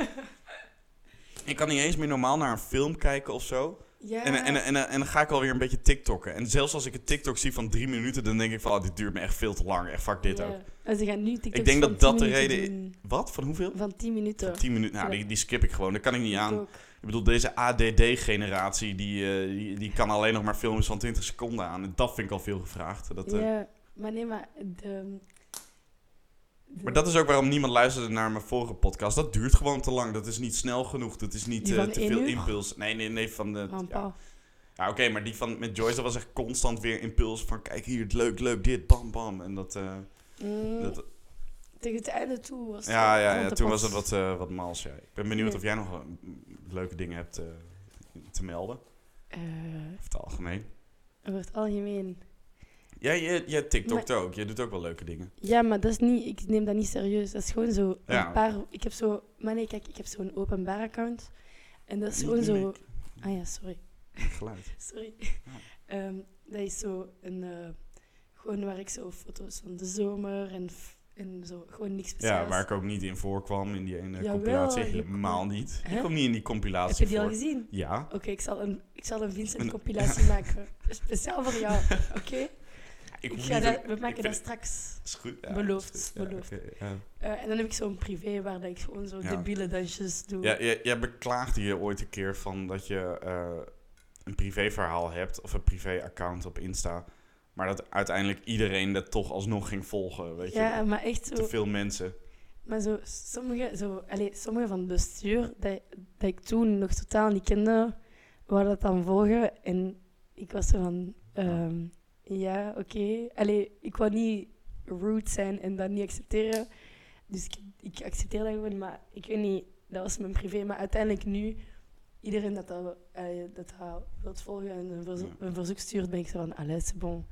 S2: ik kan niet eens meer normaal naar een film kijken of zo.
S1: Ja.
S2: En, en, en, en dan ga ik alweer een beetje TikTokken. En zelfs als ik een TikTok zie van drie minuten, dan denk ik van, oh, dit duurt me echt veel te lang. Echt vaak dit
S1: Ja.
S2: ook.
S1: En ze gaan nu TikToks
S2: Ik denk
S1: van
S2: dat dat
S1: 10
S2: de
S1: minuten
S2: reden
S1: doen.
S2: Wat? Van hoeveel?
S1: Van 10 minuten.
S2: Van tien minuten. Nou,
S1: Ja.
S2: die, die skip ik gewoon. Dat kan ik niet aan.
S1: Ook.
S2: Ik bedoel, deze ADD-generatie, die, eh, die, die kan alleen nog maar films van 20 seconden aan. En dat vind ik al veel gevraagd. Dat, eh,
S1: Ja, maar nee, maar... De, de-
S2: Maar dat is ook waarom niemand luisterde naar mijn vorige podcast. Dat duurt gewoon te lang. Dat is niet snel genoeg. Dat is niet
S1: Die
S2: eh,
S1: van
S2: te
S1: één
S2: veel
S1: uur?
S2: impuls. Nee, nee, nee. Van de,
S1: Van
S2: ja,
S1: Paul.
S2: Ja, oké, maar die van met Joyce, dat was echt constant weer impuls van kijk hier, leuk, leuk, dit, bam, bam. En dat, eh,
S1: Mm,
S2: dat
S1: Tegen het einde toe was
S2: ja,
S1: het-
S2: ja,
S1: want
S2: ja,
S1: de
S2: toen was
S1: pas-
S2: het wat, eh wat mals, ja. Ik ben benieuwd
S1: Ja.
S2: of jij nog eh, leuke dingen hebt eh, te melden, over
S1: Eh,
S2: het algemeen.
S1: over het algemeen.
S2: Jij, jij, jij TikTokt ook, jij doet ook wel leuke dingen.
S1: Ja, maar dat is niet, ik neem dat niet serieus. Dat is gewoon zo
S2: Ja.
S1: een paar... Ik heb zo... Maar nee, kijk, ik heb zo'n openbaar account. En dat is gewoon
S2: Niet
S1: zo...
S2: mimic,
S1: Ah ja, sorry.
S2: Geluid.
S1: Sorry. Ehm, dat is zo een... eh, gewoon waar ik zo foto's van de zomer en, f- en zo... Gewoon niks speciaals.
S2: Ja, waar ik ook niet in voorkwam in die ene
S1: Dus Jawel,
S2: compilatie,
S1: je
S2: helemaal
S1: komt-
S2: niet. Ik
S1: Hè?
S2: kom niet in die
S1: Heb
S2: compilatie
S1: je die al
S2: voor.
S1: gezien?
S2: Ja,
S1: Oké, ik zal een, ik zal een
S2: Een-
S1: Vincent-compilatie maken. Speciaal voor jou, oké?
S2: ik
S1: Ik
S2: hoef
S1: ga
S2: niet...
S1: dat-
S2: te-
S1: We maken
S2: vind-
S1: dat straks.
S2: is goed, ja,
S1: Beloofd,
S2: is goed, ja,
S1: beloofd.
S2: oké, ja.
S1: Eh, en dan heb ik zo'n privé waar dat ik gewoon zo
S2: Ja.
S1: debiele dansjes doe.
S2: Ja, jij, jij beklaagde je ooit een keer van dat je eh, een privéverhaal hebt of een privé-account op Insta. Maar dat uiteindelijk iedereen dat toch alsnog ging volgen, weet je.
S1: Ja, maar echt
S2: Te
S1: zo.
S2: veel mensen.
S1: Maar zo, sommige, zo, allez, sommige van het bestuur dat, dat ik toen nog totaal niet kende, waar dat dan volgen. En ik was zo van, ehm, ja, oké. Allee, ik wou niet rude zijn en dat niet accepteren. Dus ik, ik accepteer dat gewoon, maar ik weet niet, dat was mijn privé. Maar uiteindelijk nu, iedereen dat dat, allee, dat, dat wilt volgen en een, verzo- een verzoek stuurt, ben ik zo van, allez, c'est bon.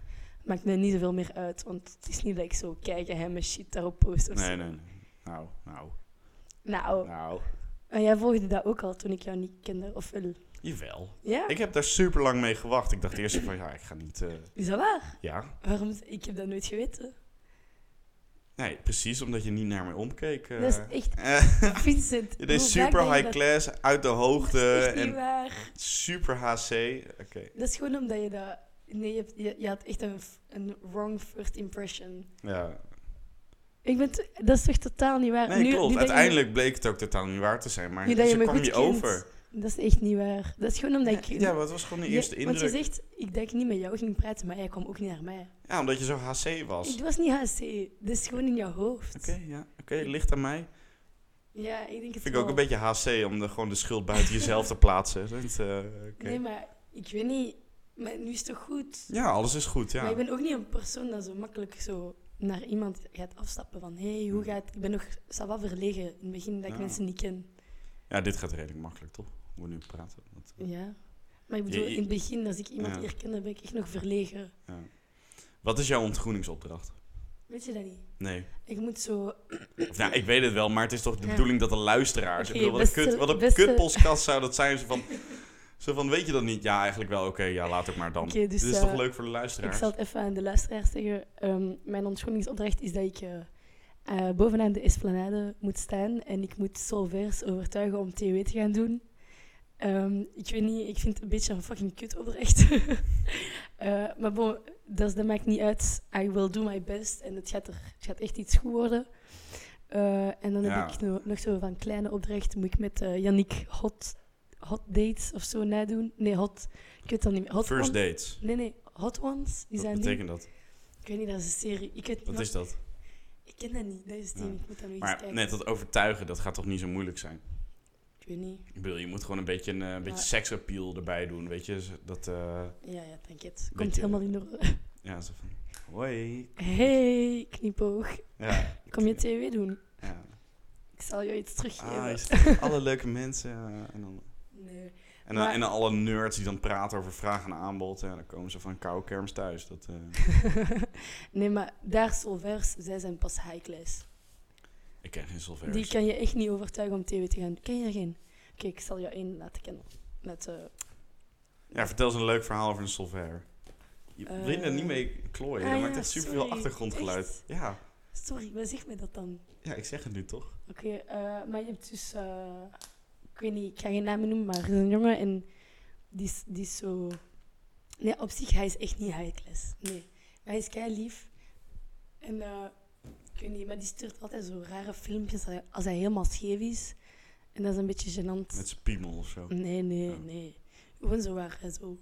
S1: Maakt me niet zoveel meer uit, want het is niet dat ik zo kijk en hij mijn shit daarop post of zo.
S2: Nee, nee, nee. Nou, nou,
S1: Nou,
S2: nou.
S1: en jij volgde dat ook al toen ik jou niet kende, of wel?
S2: Jawel.
S1: Ja?
S2: Ik heb daar super lang mee gewacht. Ik dacht eerst van, ja, ik ga niet... eh,
S1: Is dat waar?
S2: ja,
S1: Waarom? Ik heb dat nooit geweten.
S2: nee, precies omdat je niet naar mij omkeek. eh.
S1: Dat is echt
S2: Eh,
S1: Vincent. Dus hoe
S2: je
S1: vaak
S2: deed super
S1: dat je
S2: high
S1: dat-
S2: class, uit de
S1: Dat is
S2: hoogte
S1: echt niet
S2: en
S1: waar.
S2: super HC. Oké.
S1: Dat is gewoon omdat je dat... Nee, je, hebt- je, je had echt een, f- een wrong first impression.
S2: Ja,
S1: Ik ben... t- Dat is toch totaal niet waar?
S2: Nee,
S1: Nu-
S2: klopt.
S1: nu dat je-
S2: Uiteindelijk bleek het ook totaal niet waar te zijn. Maar
S1: Nu
S2: ze
S1: dat je me
S2: kwam
S1: goed
S2: je
S1: kent,
S2: over.
S1: Dat is echt niet waar. Dat is gewoon omdat
S2: Ja,
S1: ik...
S2: ja, maar het was gewoon de
S1: Je-
S2: eerste
S1: Want je
S2: indruk.
S1: zegt, ik denk niet met jou ging praten, maar jij kwam ook niet naar mij.
S2: Ja, omdat je zo HC was.
S1: Ik
S2: Oké,
S1: was niet HC. Dat is gewoon in jouw hoofd.
S2: ja. Oké, ligt aan mij.
S1: Ja, ik denk het
S2: Vind ik ook
S1: wel.
S2: een beetje HC om de, gewoon de schuld buiten jezelf te plaatsen. Dat, eh, oké.
S1: Nee, maar ik weet niet. Maar nu is het toch goed?
S2: Ja, alles is goed, ja.
S1: Maar ik ben ook niet een persoon dat zo makkelijk zo naar iemand gaat afstappen van hé, hey, hoe gaat het? Ik ben nog zowat verlegen in het begin dat ik
S2: Hmm. Ja.
S1: mensen niet ken.
S2: Ja, dit gaat redelijk makkelijk, toch? We moeten nu praten. Dat, eh,
S1: Ja. Maar ik bedoel,
S2: Je- je-
S1: in het begin, als ik iemand
S2: Ja.
S1: hier ken, dan ben ik echt nog verlegen.
S2: ja. Wat is jouw ontgroeningsopdracht?
S1: Weet je dat niet?
S2: Nee.
S1: Ik moet zo...
S2: Of, nou, ik weet het wel, maar het is toch de
S1: Ja.
S2: bedoeling dat de luisteraars...
S1: Oké,
S2: ik bedoel, wat een,
S1: beste-
S2: kut, wat een
S1: beste-
S2: kutpodcast zou dat zijn. Zo van, zo van, weet je dat niet? Ja, eigenlijk wel. Oké, ja, laat ook maar dan.
S1: Oké, dus,
S2: Dit is
S1: eh,
S2: toch leuk voor de
S1: Ik
S2: luisteraars?
S1: zal het even aan de luisteraars zeggen. Ehm, mijn ontschoningsopdracht is dat ik eh, eh, bovenaan de esplanade moet staan en ik moet solvers overtuigen om TW te gaan doen. Ehm, ik weet niet, ik vind het een beetje een fucking kut opdracht. Eh, maar bon, dat, is- dat maakt niet uit. I will do my best en het gaat, er, het gaat echt iets goed worden. Eh, en dan
S2: Ja.
S1: heb ik no- nog zo van kleine opdrachten. Moet ik met eh Yannick hot, hot dates of zo nadoen? Nee, hot. Ik weet dat niet meer. Hot
S2: First
S1: on-
S2: dates.
S1: Nee, nee, Hot Ones. Die
S2: Wat
S1: zijn nu...
S2: betekent dat?
S1: Ik weet niet, dat is een serie. Ik, weet,
S2: Wat
S1: wat-
S2: is dat?
S1: ik ken dat niet, dat is het ding.
S2: Ja.
S1: Ik moet daar nog eens
S2: Maar
S1: kijken.
S2: net dat overtuigen, dat gaat toch niet zo moeilijk zijn?
S1: Ik weet niet.
S2: Ik bedoel, je moet gewoon een beetje een, eh, een beetje
S1: Ja.
S2: seksappeal erbij doen, weet je? Z- Dat, eh,
S1: Ja, ja, dank je. Het komt
S2: Beetje-
S1: helemaal in de...
S2: ja, zo van, hoi.
S1: Hey, knipoog.
S2: Ja,
S1: Kom je TW doen?
S2: ja.
S1: Ik zal jou iets teruggeven.
S2: Ah, je ziet alle leuke mensen. eh, en, dan,
S1: Nee.
S2: en, dan,
S1: Maar-
S2: en dan alle nerds die dan praten over vraag en aanbod. En dan komen ze van koude kermis thuis. Dat, eh,
S1: nee, maar daar solvers, zij zijn pas high class.
S2: ik ken geen solvers.
S1: Die kan je echt niet overtuigen om TW te gaan. Ken je er geen? Oké, ik zal jou één laten kennen. Met, eh,
S2: Ja, vertel eens een leuk verhaal over een solver. Je
S1: Eh,
S2: vrienden niet mee klooien.
S1: ah
S2: dat
S1: ja,
S2: maakt echt superveel
S1: sorry.
S2: achtergrondgeluid.
S1: Echt?
S2: Ja.
S1: Sorry, wat zegt mij dat dan?
S2: ja, ik zeg het nu toch?
S1: Oké, eh, maar je hebt dus, eh, ik weet niet, ik ga geen namen noemen, maar er is een jongen en die is, die is zo. Nee, op zich, hij is echt niet high class. Nee, maar hij is kei lief. En eh, ik weet niet, maar die stuurt altijd zo rare filmpjes als hij, als hij helemaal scheef is. En dat is een beetje gênant.
S2: Met z'n piemel of zo.
S1: Nee, nee,
S2: Oh.
S1: nee. Gewoon zo waar hij zo,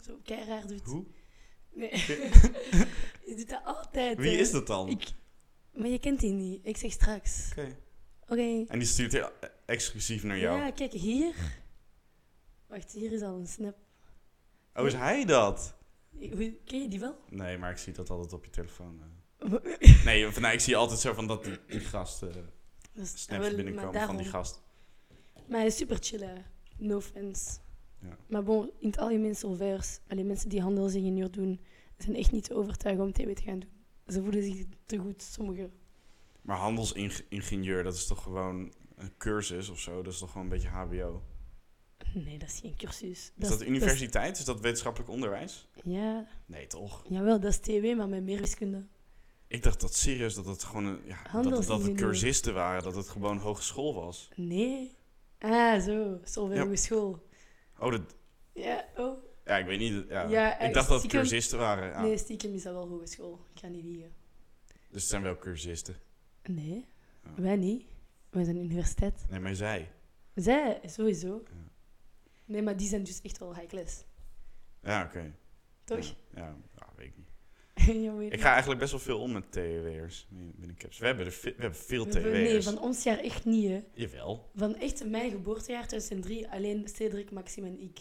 S1: zo kei raar doet.
S2: Hoe?
S1: Nee. je doet dat altijd.
S2: Wie
S1: hè.
S2: is dat dan?
S1: eh, Ik, maar je kent die niet. Ik zeg straks.
S2: Oké.
S1: Oké.
S2: En die stuurt heel eh, exclusief naar jou.
S1: Ja, kijk hier. Wacht, hier is al een snap.
S2: Oh, is hij dat?
S1: Hoe- Ken je die wel?
S2: Nee, maar ik zie dat altijd op je telefoon. eh. Nee, of, nee, ik zie altijd zo van dat die, die gast, eh,
S1: Dat is-
S2: snaps
S1: ah, wel,
S2: binnenkomen
S1: maar
S2: van die
S1: daarom.
S2: gast.
S1: Maar hij is super chill, hè. no offense.
S2: Ja.
S1: Maar bon, in het algemeen solvers, alleen mensen die handelsingenieur doen, zijn echt niet te overtuigen om TW te gaan doen. Ze voelen zich te goed, sommigen.
S2: Maar handelsingenieur, dat is toch gewoon een cursus of zo? Dat is toch gewoon een beetje HBO?
S1: Nee, dat is geen cursus.
S2: Is dat de universiteit? Is dat wetenschappelijk onderwijs?
S1: dat is- ja,
S2: Nee, toch?
S1: jawel, dat is TW, maar met meer wiskunde.
S2: Ik dacht dat serieus dat het gewoon een, ja, dat, dat het
S1: Handelsingenieur.
S2: cursisten waren, dat het gewoon hogeschool was.
S1: Nee. Ah, zo,
S2: Ja.
S1: solver ja. school.
S2: Oh, dat,
S1: Ja, oh.
S2: ja, ik weet niet. Ja.
S1: Ja,
S2: ik
S1: eh,
S2: dacht dat het
S1: stiekem-
S2: cursisten waren. Ja.
S1: Nee, stiekem is dat wel hogeschool. Ik ga niet liegen.
S2: Dus het zijn wel cursisten.
S1: Nee,
S2: Ja.
S1: wij niet. Wij zijn universiteit.
S2: Nee, maar zij.
S1: Zij sowieso. Nee, maar die zijn dus echt wel high class.
S2: Ja, oké.
S1: Toch?
S2: Ja, ja, ja, weet ik niet.
S1: Ja. weet
S2: Ik
S1: niet.
S2: ga eigenlijk best wel veel om met TW'ers binnen Caps. We hebben, er ve- we hebben veel
S1: We- we- Nee,
S2: TW'ers.
S1: van ons jaar echt niet, hè.
S2: Jawel.
S1: Van echt mijn geboortejaar 2003, alleen Cedric, Maxime en ik.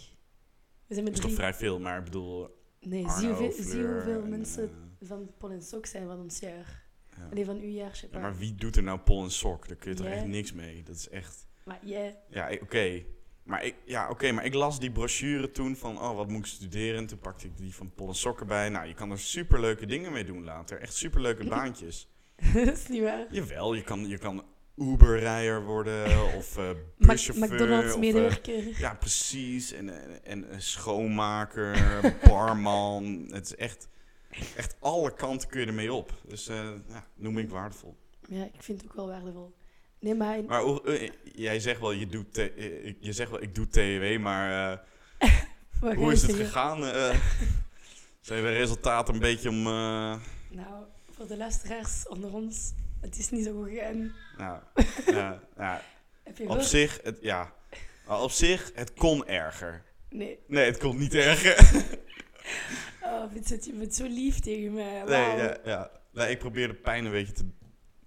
S1: We zijn met
S2: Dat is toch
S1: drie...
S2: vrij veel, maar ik bedoel...
S1: Nee, zie
S2: Arno,
S1: hoeveel, zie
S2: Fleur
S1: hoeveel
S2: en,
S1: mensen
S2: eh,
S1: van Paul en Sok zijn van ons jaar.
S2: ja.
S1: Alleen van uw jaar, Shepard.
S2: Ja, maar wie doet er nou pol en sok? Daar kun je toch
S1: Jij?
S2: echt niks mee? Dat is echt...
S1: Maar jij...
S2: Ja, ik- oké. Maar, ik- ja, oké, maar ik las die brochure toen van... Oh, wat moet ik studeren? Toen pakte ik die van pol en sok erbij. Nou, je kan er superleuke dingen mee doen later. Echt superleuke baantjes.
S1: dat is niet waar.
S2: Jawel, je kan, je kan Uber-rijder worden of eh
S1: Mac-
S2: buschauffeur. of, eh,
S1: McDonald's-medewerker.
S2: ja, precies. En, en, en een schoonmaker, barman. Het is echt, echt alle kanten kun je ermee op. Dus eh, ja, noem ik waardevol.
S1: Ja, ik vind het ook wel waardevol. Nee, maar... in-
S2: Maar hoe- eh, jij zegt wel, je doet te- eh, je zegt wel ik doe TEW, maar eh,
S1: wat ga
S2: hoe
S1: je
S2: is het
S1: zeggen?
S2: gegaan? Eh, zijn de resultaten een beetje om... eh,
S1: Nou, voor de luisteraars onder ons, het is niet zo goed gegaan.
S2: nou, ja, ja,
S1: Heb je
S2: op
S1: gehoord?
S2: zich, het, ja. Maar op zich, het kon erger.
S1: Nee.
S2: Nee, het kon niet erger.
S1: Oh, Vincent, je bent zo lief tegen mij.
S2: Nee,
S1: Wauw.
S2: ja, ja. Nee, ik probeer de pijn een beetje te,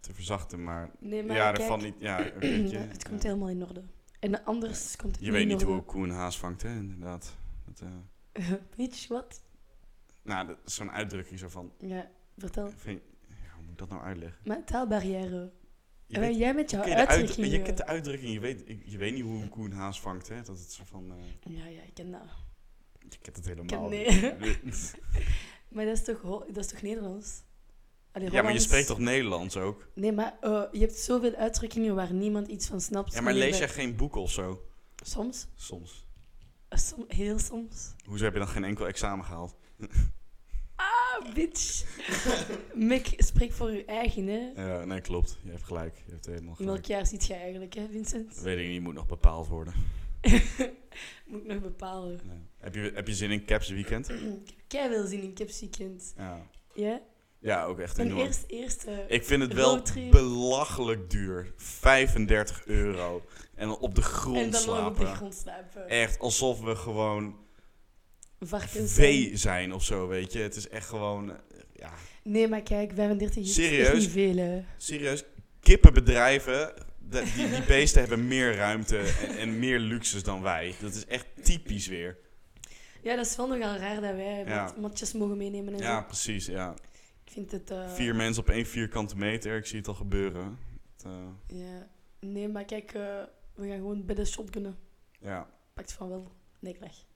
S2: te verzachten, maar...
S1: Nee, maar
S2: Ja,
S1: kijk,
S2: daarvan niet. Ja, een beetje,
S1: het komt
S2: ja.
S1: helemaal in orde. En anders komt het
S2: Je weet niet
S1: in
S2: hoe
S1: orde.
S2: een koe een haas vangt, hè, inderdaad. Dat, eh,
S1: Weet je wat?
S2: nou, dat is zo'n uitdrukking zo van...
S1: Ja, vertel.
S2: Vind, ja, hoe moet ik dat nou uitleggen?
S1: Maar taalbarrière.
S2: Je
S1: Eh,
S2: weet-
S1: jij met jouw eh.
S2: Ken je, de uit-
S1: uitdrukkingen.
S2: je kent de uitdrukking, je weet, ik- je weet niet hoe een koe een haas vangt, hè? Dat het zo van... eh,
S1: Ja, ja, ik ken dat.
S2: je kent het helemaal
S1: ken-
S2: niet.
S1: Maar dat is toch, ho- dat is toch Nederlands? Allee,
S2: Ja, maar je
S1: Hollands-
S2: spreekt toch Nederlands ook?
S1: Nee, maar eh, je hebt zoveel uitdrukkingen waar niemand iets van snapt.
S2: Ja, maar
S1: En je
S2: lees jij
S1: bent-
S2: geen boek of zo?
S1: Soms.
S2: Soms.
S1: Eh, som- heel soms.
S2: Hoezo heb je dan geen enkel examen gehaald?
S1: Ah, bitch. Mick, spreek voor je eigen, hè.
S2: Ja, Eh, nee, klopt. Je hebt gelijk. Je hebt helemaal
S1: In welk
S2: gelijk.
S1: jaar zit jij eigenlijk, hè, Vincent?
S2: Weet ik niet, moet nog bepaald worden.
S1: Moet ik nog bepalen.
S2: Ja. Heb, je, heb je zin in Caps weekend?
S1: Kei veel zin in Caps Weekend.
S2: Ja,
S1: Ja?
S2: ja ook echt
S1: Mijn
S2: enorm.
S1: eerst, eh, eerste...
S2: Ik vind het wel
S1: Roadtrip.
S2: belachelijk duur. 35 euro. En dan op de
S1: en
S2: grond
S1: dan nog op de
S2: slapen.
S1: grond slapen.
S2: Echt alsof we gewoon
S1: Varkens.
S2: vee zijn of zo, weet je. Het is echt gewoon, eh, ja.
S1: Nee, maar kijk, 35 is echt
S2: Serieus?
S1: niet veel, hè.
S2: Serieus, kippenbedrijven, de- die, die beesten hebben meer ruimte en, en meer luxes dan wij. Dat is echt typisch weer.
S1: Ja, dat is wel nogal raar dat wij
S2: Ja.
S1: mat- matjes mogen meenemen en
S2: Ja,
S1: zo.
S2: precies, ja.
S1: Ik vind het... eh,
S2: Vier mensen op één vierkante meter, ik zie het al gebeuren. Het, eh,
S1: Ja. Nee, maar kijk, eh, we gaan gewoon bij de shotgunnen.
S2: ja,
S1: Pakt van wel. Nee, ik lach.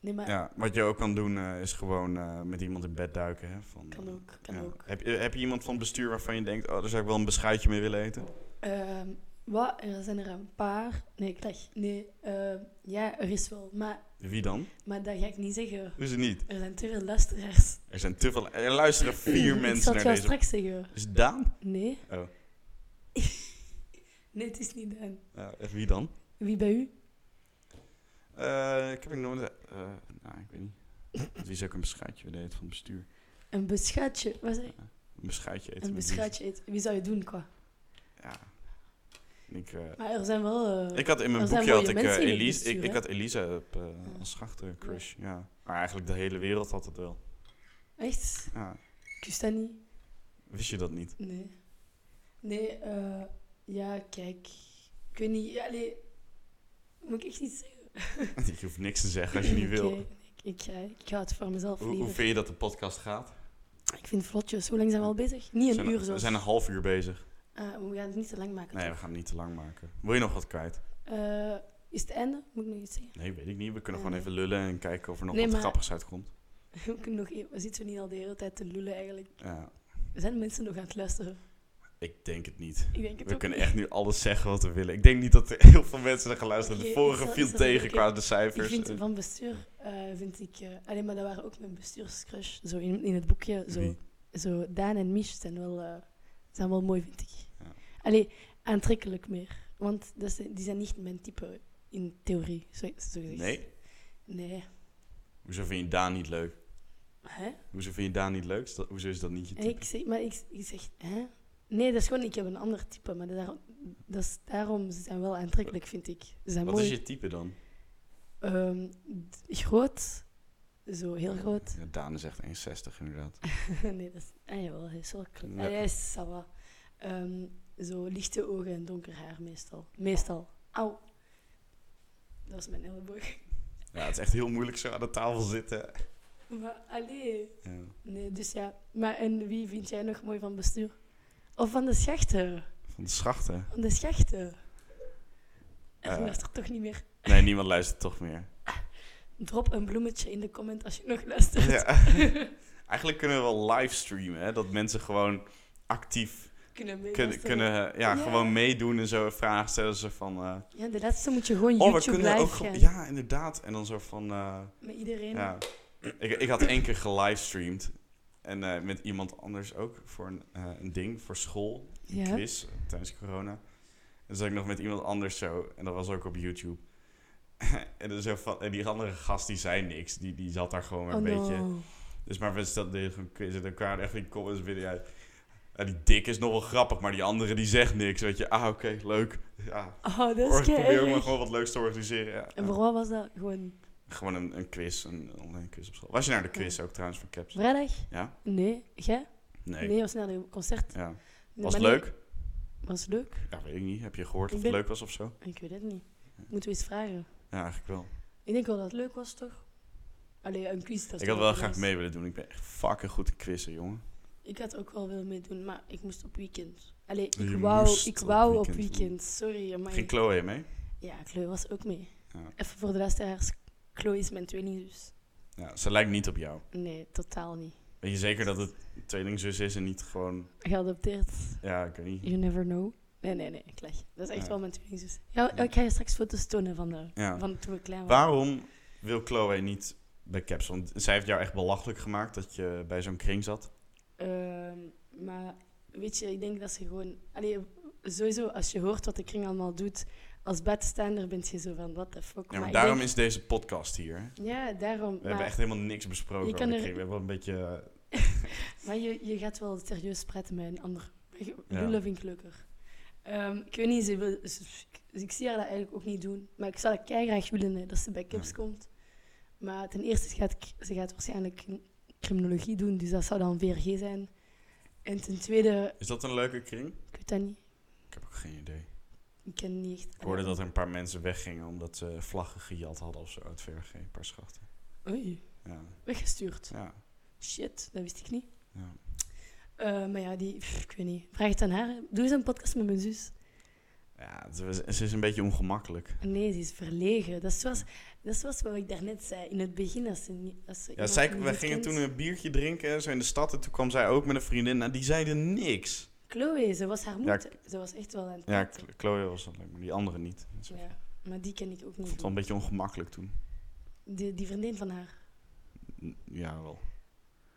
S1: Nee, maar
S2: ja, wat je ook kan doen eh, is gewoon eh, met iemand in bed duiken. Hè, van, eh,
S1: kan ook, kan
S2: Ja.
S1: ook.
S2: Heb, je- heb je iemand van het bestuur waarvan je denkt, oh, daar zou ik wel een beschuitje mee willen eten?
S1: Ehm, wat? Er zijn er een paar. Nee, ik lach. Nee, ehm, ja, er is wel. Maar,
S2: Wie dan?
S1: maar dat ga ik niet zeggen.
S2: Is het niet?
S1: Er zijn te veel luisteraars.
S2: Er zijn te veel. Er luisteren vier
S1: ik
S2: mensen
S1: zal het
S2: naar
S1: jou
S2: deze.
S1: straks zeggen.
S2: Is het Daan?
S1: Nee.
S2: Oh.
S1: nee, het is niet Daan.
S2: Ja, en wie dan?
S1: Wie bij u?
S2: Eh, ik heb ik nooit. eh, nou, ik weet niet. Het is ook een beschuitje willen eten van het bestuur.
S1: Een beschuitje. Wat zeg ik?
S2: Ja, een beschuitje eten.
S1: Een
S2: met wie?
S1: beschuitje eten. Wie zou je doen, qua?
S2: Ja. En Ik, eh,
S1: Maar er zijn wel... eh,
S2: ik had in mijn
S1: Er zijn
S2: boekje had
S1: mooie
S2: ik, eh,
S1: mensen in het
S2: Elise, ik,
S1: bestuur,
S2: ik
S1: hè?
S2: had Elisa op, eh, als schachter crush. Ja. Maar eigenlijk de hele wereld had het wel.
S1: Echt?
S2: Ja.
S1: Kust dat niet?
S2: Wist je dat niet?
S1: Nee. Nee, eh, ja, kijk. Ik weet niet, allee, moet ik echt iets zeggen?
S2: je hoeft niks te zeggen als je niet wil.
S1: Oké, ik, ik, ga- ik ga het voor mezelf
S2: Hoe, hoe
S1: liever.
S2: vind je dat de podcast gaat?
S1: Ik vind het vlotjes. Hoe lang zijn we al bezig? Niet een
S2: zijn,
S1: uur
S2: we
S1: zo.
S2: zijn een half uur bezig.
S1: Ah, we gaan het niet te lang maken.
S2: Nee, we
S1: toch?
S2: gaan het niet te lang maken. Wil je nog wat kwijt?
S1: Eh, is het einde? Moet ik nog iets zeggen?
S2: Nee, weet ik niet. We kunnen gewoon
S1: Nee.
S2: even lullen en kijken of er nog
S1: Nee,
S2: wat
S1: maar-
S2: grappigs uitkomt.
S1: We, kunnen nog even, we zitten niet al de hele tijd te lullen eigenlijk.
S2: Ja,
S1: Zijn mensen nog aan het luisteren?
S2: ik denk het niet.
S1: Ik denk het
S2: We
S1: ook
S2: kunnen
S1: niet.
S2: echt nu alles zeggen wat we willen. Ik denk niet dat er heel veel mensen naar gaan luisteren.
S1: Oké,
S2: de
S1: ik
S2: vorige
S1: zal- ik
S2: viel
S1: zal-
S2: tegen
S1: oké.
S2: qua de
S1: Ik
S2: cijfers.
S1: vind
S2: Eh,
S1: van bestuur, eh, vind ik... eh, alleen maar dat waren ook mijn bestuurscrush. Zo in, in het boekje, zo...
S2: Wie?
S1: zo Daan en Mich zijn wel, eh, zijn wel mooi, vind ik.
S2: Ja.
S1: Allee, aantrekkelijk meer. Want dat zijn- die zijn niet mijn type in theorie, zo, zo gezegd.
S2: Nee?
S1: Nee.
S2: Hoezo vind je Daan niet leuk?
S1: Hè?
S2: Hoezo vind je Daan niet leuk? Is dat- Hoezo is dat niet je type?
S1: Ik zeg, maar ik, ik zeg... Hè? Nee, dat is gewoon... Ik heb een ander type, maar dat daar, dat is, daarom ze zijn wel aantrekkelijk, vind ik. Ze zijn
S2: wat
S1: eh, mooi.
S2: is je type dan?
S1: Ehm, d- groot. Zo, heel groot.
S2: Ja, Daan is echt 1,60 inderdaad.
S1: nee, dat is... Ah, jawel, hij is wel klein.
S2: Ja.
S1: Ah, Hij is ça va. Ehm, zo lichte ogen en donker haar meestal. Meestal. Au. Dat was mijn elleboog.
S2: Ja, het is echt heel moeilijk zo aan de tafel zitten.
S1: Maar, allee.
S2: Ja.
S1: Nee, dus ja. Maar en wie vind jij nog mooi van bestuur? Of van de schachten?
S2: Van de schachten.
S1: Van de schachten. En
S2: Eh.
S1: luistert toch niet meer.
S2: Nee, niemand luistert toch meer.
S1: Drop een bloemetje in de comment als je nog luistert.
S2: Ja. Eigenlijk kunnen we wel livestreamen, hè? Dat mensen gewoon actief
S1: Kunnen
S2: kun-
S1: meeluisteren.
S2: kunnen, eh, ja,
S1: Ja.
S2: gewoon meedoen en zo vragen stellen. Zo van, eh,
S1: Ja, de laatste moet je gewoon
S2: oh, we
S1: YouTube
S2: kunnen
S1: live
S2: ook... ge-
S1: gaan.
S2: Ja, inderdaad. En dan zo van, eh,
S1: Met iedereen.
S2: ja. Ik, ik had één keer gelivestreamd. En eh, met iemand anders ook voor een, eh, een ding, voor school. Een
S1: Ja.
S2: quiz, eh, tijdens corona. En zat ik nog met iemand anders zo. En dat was ook op YouTube. en, dan zo van, en die andere gast, die zei niks. Die, die zat daar gewoon maar een beetje...
S1: Oh, no.
S2: Dus maar we stelden deden gewoon quiz en dan kwamen echt die comments binnen. Ja, ja, die dik is nog wel grappig, maar die andere die zegt niks. Weet je, ah oké, leuk. Ja,
S1: Oh, dat
S2: Or-
S1: is
S2: probeer ook maar
S1: kei
S2: gewoon wat leuks te organiseren. Ja.
S1: En voor wat was dat? Gewoon
S2: Gewoon een, een quiz, een online quiz op school. Was je naar de quiz ook trouwens van Caps?
S1: vrijdag?
S2: Ja?
S1: Nee. Jij?
S2: Nee.
S1: Nee, was naar een concert.
S2: Ja.
S1: Nee,
S2: Was
S1: maar
S2: het
S1: nee,
S2: leuk?
S1: Was het leuk?
S2: Ja, weet ik niet. Heb je gehoord
S1: Ik
S2: of het
S1: ben-
S2: leuk was of zo?
S1: Ik weet het niet. Moeten we eens vragen.
S2: Ja, eigenlijk wel.
S1: Ik denk wel dat het leuk was, toch? Allee, een quiz. Dat is
S2: ik had
S1: toch
S2: wel
S1: een
S2: graag
S1: quiz.
S2: mee willen doen. Ik ben echt fucking goed in quizzen, jongen.
S1: Ik had ook wel willen meedoen, maar ik moest op weekend. Allee, ik
S2: Je
S1: wou,
S2: moest
S1: ik
S2: op
S1: wou op
S2: weekend.
S1: weekend. Sorry, maar
S2: Ging Chloe mee?
S1: Ja, Chloe was ook mee.
S2: Ja.
S1: Even voor de luisteraars. Chloe is mijn tweelingzus.
S2: Ja, ze lijkt niet op jou.
S1: dus Nee, totaal niet.
S2: Weet je zeker dat het een tweelingzus is en niet gewoon...
S1: Geadopteerd.
S2: Ja, ik weet niet.
S1: You never know. Nee, nee, nee, ik leg. Dat is echt
S2: Ja.
S1: wel mijn tweelingzus. Ja, oh, ik ga je straks foto's tonen van, de,
S2: Ja.
S1: van toen we klein waren.
S2: Waarom wil Chloe niet bij Caps? Want zij heeft jou echt belachelijk gemaakt dat je bij zo'n kring zat.
S1: Ehm, maar weet je, ik denk dat ze gewoon... Allee, sowieso, als je hoort wat de kring allemaal doet, als bedstaander ben je zo van, what the fuck.
S2: Ja, maar
S1: ik
S2: daarom
S1: denk-
S2: is deze podcast hier. hè? We
S1: Ja, daarom. maar
S2: hebben echt helemaal niks besproken
S1: je
S2: over
S1: kan
S2: de
S1: er-
S2: kring. We hebben wel een beetje... eh,
S1: maar je, je gaat wel serieus praten met een ander.
S2: Ja.
S1: Lullen vind ik leuker. Ehm, ik weet niet, ze wil, ze- ik, ik zie haar dat eigenlijk ook niet doen. Maar ik zou het graag willen hè, dat ze bij Kips
S2: Ja.
S1: komt. Maar ten eerste ze gaat k- ze gaat waarschijnlijk criminologie doen, dus dat zou dan VRG zijn. En ten tweede,
S2: Is dat een leuke kring?
S1: ik weet dat niet.
S2: Ik heb ook geen idee.
S1: Ik ken niet echt.
S2: Ik hoorde dat er een paar mensen weggingen omdat ze vlaggen gejat hadden of zo uit VRG. Een paar schachten.
S1: Oei,
S2: Ja,
S1: weggestuurd.
S2: ja.
S1: Shit, dat wist ik niet.
S2: ja.
S1: Eh, maar ja, die, pff, ik weet niet. Vraag het aan haar. Doe eens een podcast met mijn zus.
S2: ja het was- ze is een beetje ongemakkelijk.
S1: Nee, ze is verlegen. Dat is zoals, dat is zoals wat ik daarnet zei. In het begin, als ze niet. Als ze
S2: Ja,
S1: iemand
S2: zij,
S1: niet
S2: we
S1: goed
S2: gingen
S1: kent.
S2: toen een biertje drinken en zo in de stad. En toen kwam zij ook met een vriendin. Nou, die zeiden niks.
S1: Chloe, ze was haar
S2: Ja,
S1: moeder. ze was echt wel aan het.
S2: Ja,
S1: praten.
S2: Ch- Chloe was dat leuk, maar die andere niet. Dus Ik
S1: ja, maar die ken ik ook
S2: vond het
S1: niet.
S2: wel een beetje ongemakkelijk toen.
S1: Die, die vriendin van haar.
S2: N- Ja, wel.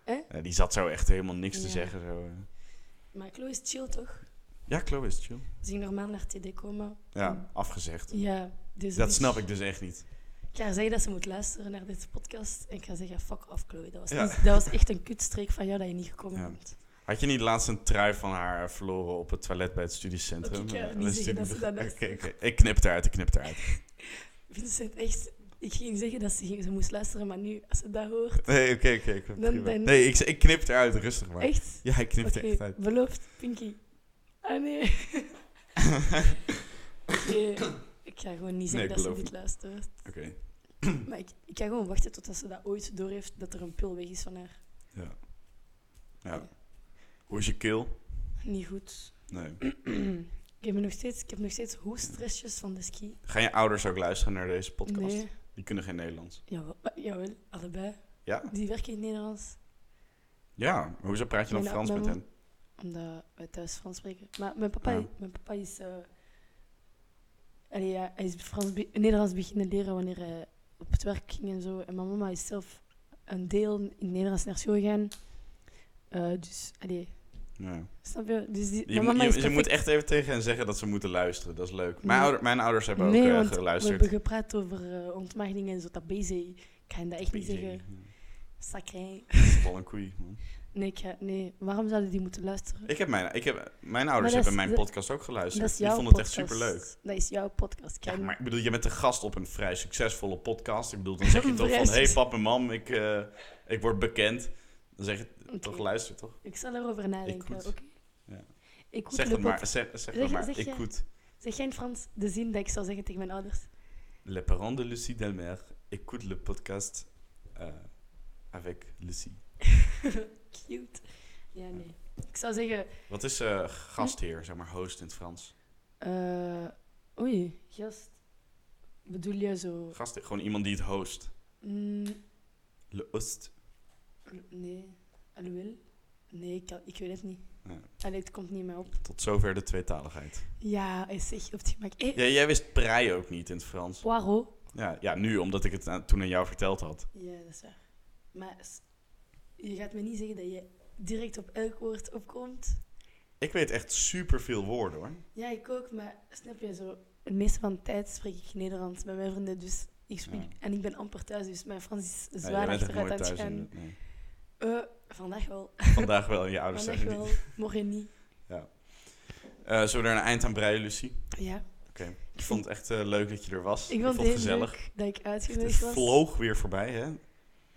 S1: Eh?
S2: Ja, die zat zo echt helemaal niks te
S1: Ja.
S2: zeggen. Zo. eh.
S1: Maar Chloe is chill toch?
S2: Ja, Chloe is chill.
S1: Ze ging normaal naar TD komen.
S2: Ja, afgezegd.
S1: Mm. Ja, dus
S2: Dat snap ik dus echt niet.
S1: Ik ga haar zeggen dat ze moet luisteren naar deze podcast. En ik ga zeggen: fuck off, Chloe. Dat was,
S2: Ja.
S1: niet- dat was echt een kutstreek van jou dat je niet gekomen
S2: Ja.
S1: bent.
S2: Had je niet laatst een trui van haar verloren op het toilet bij het
S1: Oké,
S2: studiecentrum?
S1: ik ga
S2: Eh,
S1: niet
S2: de
S1: zeggen dat ze dat
S2: studie-
S1: luistert.
S2: Oké, oké. Ik knip het eruit, ik knip het eruit.
S1: Vincent, echt. Ik ging zeggen dat ze, ging- ze moest luisteren, maar nu, als ze dat hoort.
S2: Nee, oké, oké. oké,
S1: Dan-
S2: prima.
S1: dan-
S2: Nee, ik, ik knip het eruit, rustig maar.
S1: Echt?
S2: Ja, ik knip het
S1: Oké,
S2: echt uit.
S1: beloofd, Pinky. Ah nee. Nee, ik ga gewoon niet
S2: Nee,
S1: zeggen
S2: ik
S1: dat ze
S2: beloof
S1: dit
S2: niet.
S1: luistert.
S2: Oké.
S1: Maar ik, ik ga gewoon wachten totdat ze dat ooit doorheeft, dat er een pil weg is van haar.
S2: Ja. ja. Hoe is je keel?
S1: Niet goed.
S2: Nee.
S1: ik, heb nog steeds, ik heb nog steeds hoestressjes van de ski.
S2: Gaan je ouders ook luisteren naar deze podcast?
S1: Nee,
S2: Die kunnen geen Nederlands.
S1: jawel, maar- jawel, allebei.
S2: Ja?
S1: Die werken in het Nederlands,
S2: Ja. maar Hoezo praat je dan
S1: Nee, nou,
S2: Frans
S1: mijn
S2: met hen?
S1: omdat wij thuis Frans spreken. Maar mijn papa,
S2: Ja.
S1: mijn papa is... eh, allee, ja, hij is Frans, be- Nederlands beginnen leren wanneer hij op het werk ging en zo. En mijn mama is zelf een deel in het Nederlands naar school gegaan. Eh, dus, allee,
S2: Ja.
S1: Snap je? Dus die,
S2: Je,
S1: mijn
S2: moet-
S1: mama
S2: je-
S1: is
S2: je moet
S1: perfect.
S2: echt even tegen hen zeggen dat ze moeten luisteren. Dat is leuk. Mijn,
S1: Nee.
S2: ouder- mijn ouders hebben ook
S1: nee,
S2: eh,
S1: want we
S2: geluisterd.
S1: hebben gepraat over eh, ontmaagdingen en zo, dat BC. Ik ga dat echt niet
S2: Beetje-
S1: zeggen.
S2: ja,
S1: Sacré.
S2: dat is wel een koei, man.
S1: Nee, ik ga- nee, waarom zouden die moeten luisteren?
S2: Ik heb mijn, ik heb, mijn
S1: dat
S2: ouders
S1: is-
S2: hebben mijn
S1: dat-
S2: podcast ook
S1: dat
S2: geluisterd.
S1: is
S2: Die
S1: jouw
S2: vonden het echt
S1: podcast.
S2: superleuk.
S1: Dat is jouw podcast. Ik ga
S2: Ja,
S1: niet-
S2: maar ik bedoel, je bent de gast op een vrij succesvolle podcast. Ik bedoel, dan zeg je toch van...
S1: Vrij
S2: hey,
S1: succes-
S2: pap en mam, ik, eh, ik word bekend. Dan zeg je
S1: Oké.
S2: toch luister, toch?
S1: Ik zal erover nadenken,
S2: goed.
S1: oké?
S2: Ja.
S1: Ik goed
S2: Zeg
S1: le
S2: dat maar,
S1: pot-
S2: zeg, zeg
S1: Zeg-
S2: dat maar.
S1: zeg
S2: ik
S1: jij-
S2: goed.
S1: Zeg jij in Frans de zin dat ik zou zeggen tegen mijn ouders?
S2: Le parent de Lucie Delmer. Écoute le podcast eh, avec Lucie.
S1: Cute. Ja, nee. Ik zou zeggen...
S2: Wat is eh, gastheer, zeg maar host in het Frans?
S1: eh, oei, gast. Bedoel je zo...
S2: Gastheer, gewoon iemand die het host.
S1: Mm,
S2: Le host.
S1: Nee, alhoewel. Nee, ik, kan- ik weet het niet.
S2: Ja.
S1: Allee, het komt niet meer op.
S2: Tot zover de tweetaligheid.
S1: Ja, hij zegt op het gemak. Eh,
S2: Ja, jij wist prei ook niet in het Frans.
S1: Poirot.
S2: Ja, ja nu, omdat ik het aan- toen aan jou verteld had.
S1: Ja, dat is waar. Maar s- je gaat me niet zeggen dat je direct op elk woord opkomt.
S2: Ik weet echt superveel woorden, hoor.
S1: Ja, ik ook, maar snap je zo? Het meeste van de tijd spreek ik Nederlands met mijn vrienden, dus ik spreek...
S2: Ja.
S1: En ik ben amper thuis, dus mijn Frans is
S2: Ja,
S1: zwaar
S2: jij Ah. bent echt
S1: achteruit
S2: nooit
S1: aan het
S2: thuis. Ah, in
S1: gaan.
S2: de- nee.
S1: Eh, vandaag wel.
S2: Vandaag wel, en je ouders
S1: Vandaag
S2: zeggen niet.
S1: wel, morgen niet.
S2: Eh, zullen we er een eind aan breien, Lucie?
S1: Ja.
S2: Oké. Ik vond het echt eh, leuk dat je er was.
S1: Ik vond
S2: het
S1: het heel
S2: gezellig.
S1: leuk dat ik
S2: Het
S1: uitgenodigd was.
S2: vloog weer voorbij, hè?
S1: Hoe, laat,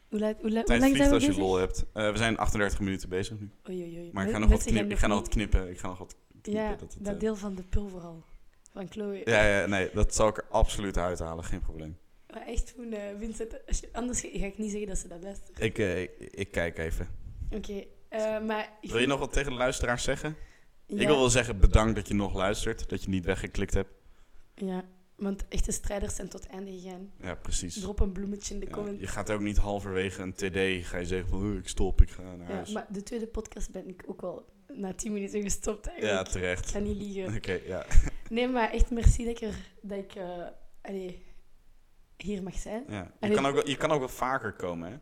S1: hoe, la- hoe
S2: Tijd
S1: lang zijn
S2: vliegt
S1: we
S2: als je
S1: bezig?
S2: lol hebt. Eh, we zijn 38 minuten bezig nu.
S1: Oei, oei, oei.
S2: Maar ik ga
S1: Men-
S2: nog wat,
S1: mensen gaan
S2: knip, ik ga nog wat
S1: niet-
S2: knippen. Ik ga nog wat knippen.
S1: Ja,
S2: dat
S1: dat,
S2: het, eh,
S1: deel van de pul vooral. Van Chloe.
S2: ja, ja, nee, dat zal ik er absoluut uithalen. Geen probleem.
S1: Maar echt toen eh, Vincent... als je- Anders ga ik niet zeggen dat ze dat luistert.
S2: Ik, eh, ik, ik kijk even.
S1: Oké, eh, maar... ik
S2: Wil je
S1: vind-
S2: nog wat tegen de luisteraars zeggen?
S1: Ja,
S2: Ik wil wel zeggen bedankt dat je nog luistert. Dat je niet weggeklikt hebt.
S1: Ja, Want echte strijders zijn tot einde gegaan.
S2: Ja, precies.
S1: Drop een bloemetje in de
S2: Ja,
S1: comments.
S2: je gaat ook niet halverwege een TD, ga je zeggen van, "Eh, ik stop, ik ga naar
S1: Ja,
S2: huis. Ja,
S1: maar de tweede podcast ben ik ook al na tien minuten gestopt eigenlijk. ik
S2: terecht.
S1: ga niet liegen.
S2: Oké, ja.
S1: Nee, maar echt merci dat ik, er, dat ik eh, allee, hier mag zijn.
S2: ja. Je,
S1: En
S2: kan ook wel, je kan ook wel vaker komen, hè?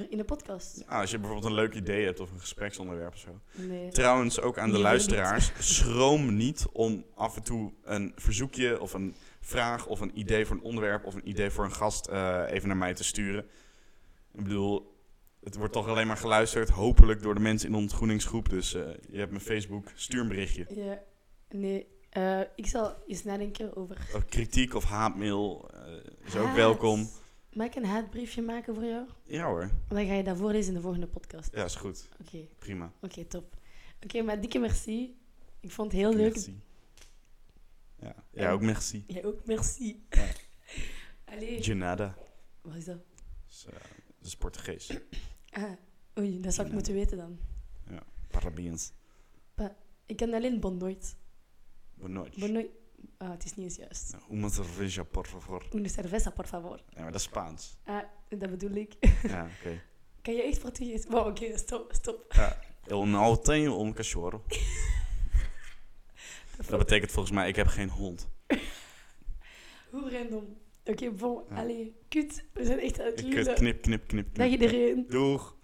S1: Er- In de podcast.
S2: Ah, als je bijvoorbeeld een leuk idee hebt of een gespreksonderwerp of zo.
S1: Nee.
S2: Trouwens, ook aan de
S1: Liever
S2: luisteraars, schroom niet om af en toe een verzoekje of een vraag of een idee voor een onderwerp of een idee voor een gast eh, even naar mij te sturen. Ik bedoel, het wordt toch alleen maar geluisterd, hopelijk door de mensen in de ontgroeningsgroep. Dus eh, je hebt mijn Facebook, stuur een berichtje.
S1: Ja, nee. Eh, ik zal eens nadenken over.
S2: Of kritiek of haatmail eh, is ook
S1: Haat.
S2: welkom.
S1: Mag ik een haatbriefje maken voor jou?
S2: Ja hoor,
S1: Dan ga je dat voorlezen in de volgende podcast.
S2: ja is goed,
S1: Oké, oké,
S2: prima.
S1: top. Oké, maar dikke merci. Ik vond het heel leuk.
S2: Merci. Ja. ja, ook merci.
S1: Jij ook, merci.
S2: Ja.
S1: Allee.
S2: De nada.
S1: Wat is dat?
S2: Dus, eh, dat is Portugees.
S1: Ah, oei, dat zou ik
S2: Ja.
S1: moeten weten dan.
S2: Parabéns.
S1: Ik ken alleen Bon Nooit.
S2: Boa noite.
S1: Bon Nooit. Ah, het is niet eens juist.
S2: Nou, Uma cerveja, por favor.
S1: Una cerveza, por favor.
S2: Ja, maar dat is Spaans.
S1: Ah, dat bedoel ik.
S2: ja, oké.
S1: Kan je echt Portugees? Wow, oké, stop, stop.
S2: Eu não tenho um cachorro. Dat betekent volgens mij, ik heb geen hond.
S1: Hoe random. Oké, bon,
S2: Ja.
S1: allee. Kut, we zijn echt aan het
S2: Ik kut,
S1: lullen.
S2: knip, knip, knip,
S1: Dag
S2: knip.
S1: iedereen.
S2: Doeg.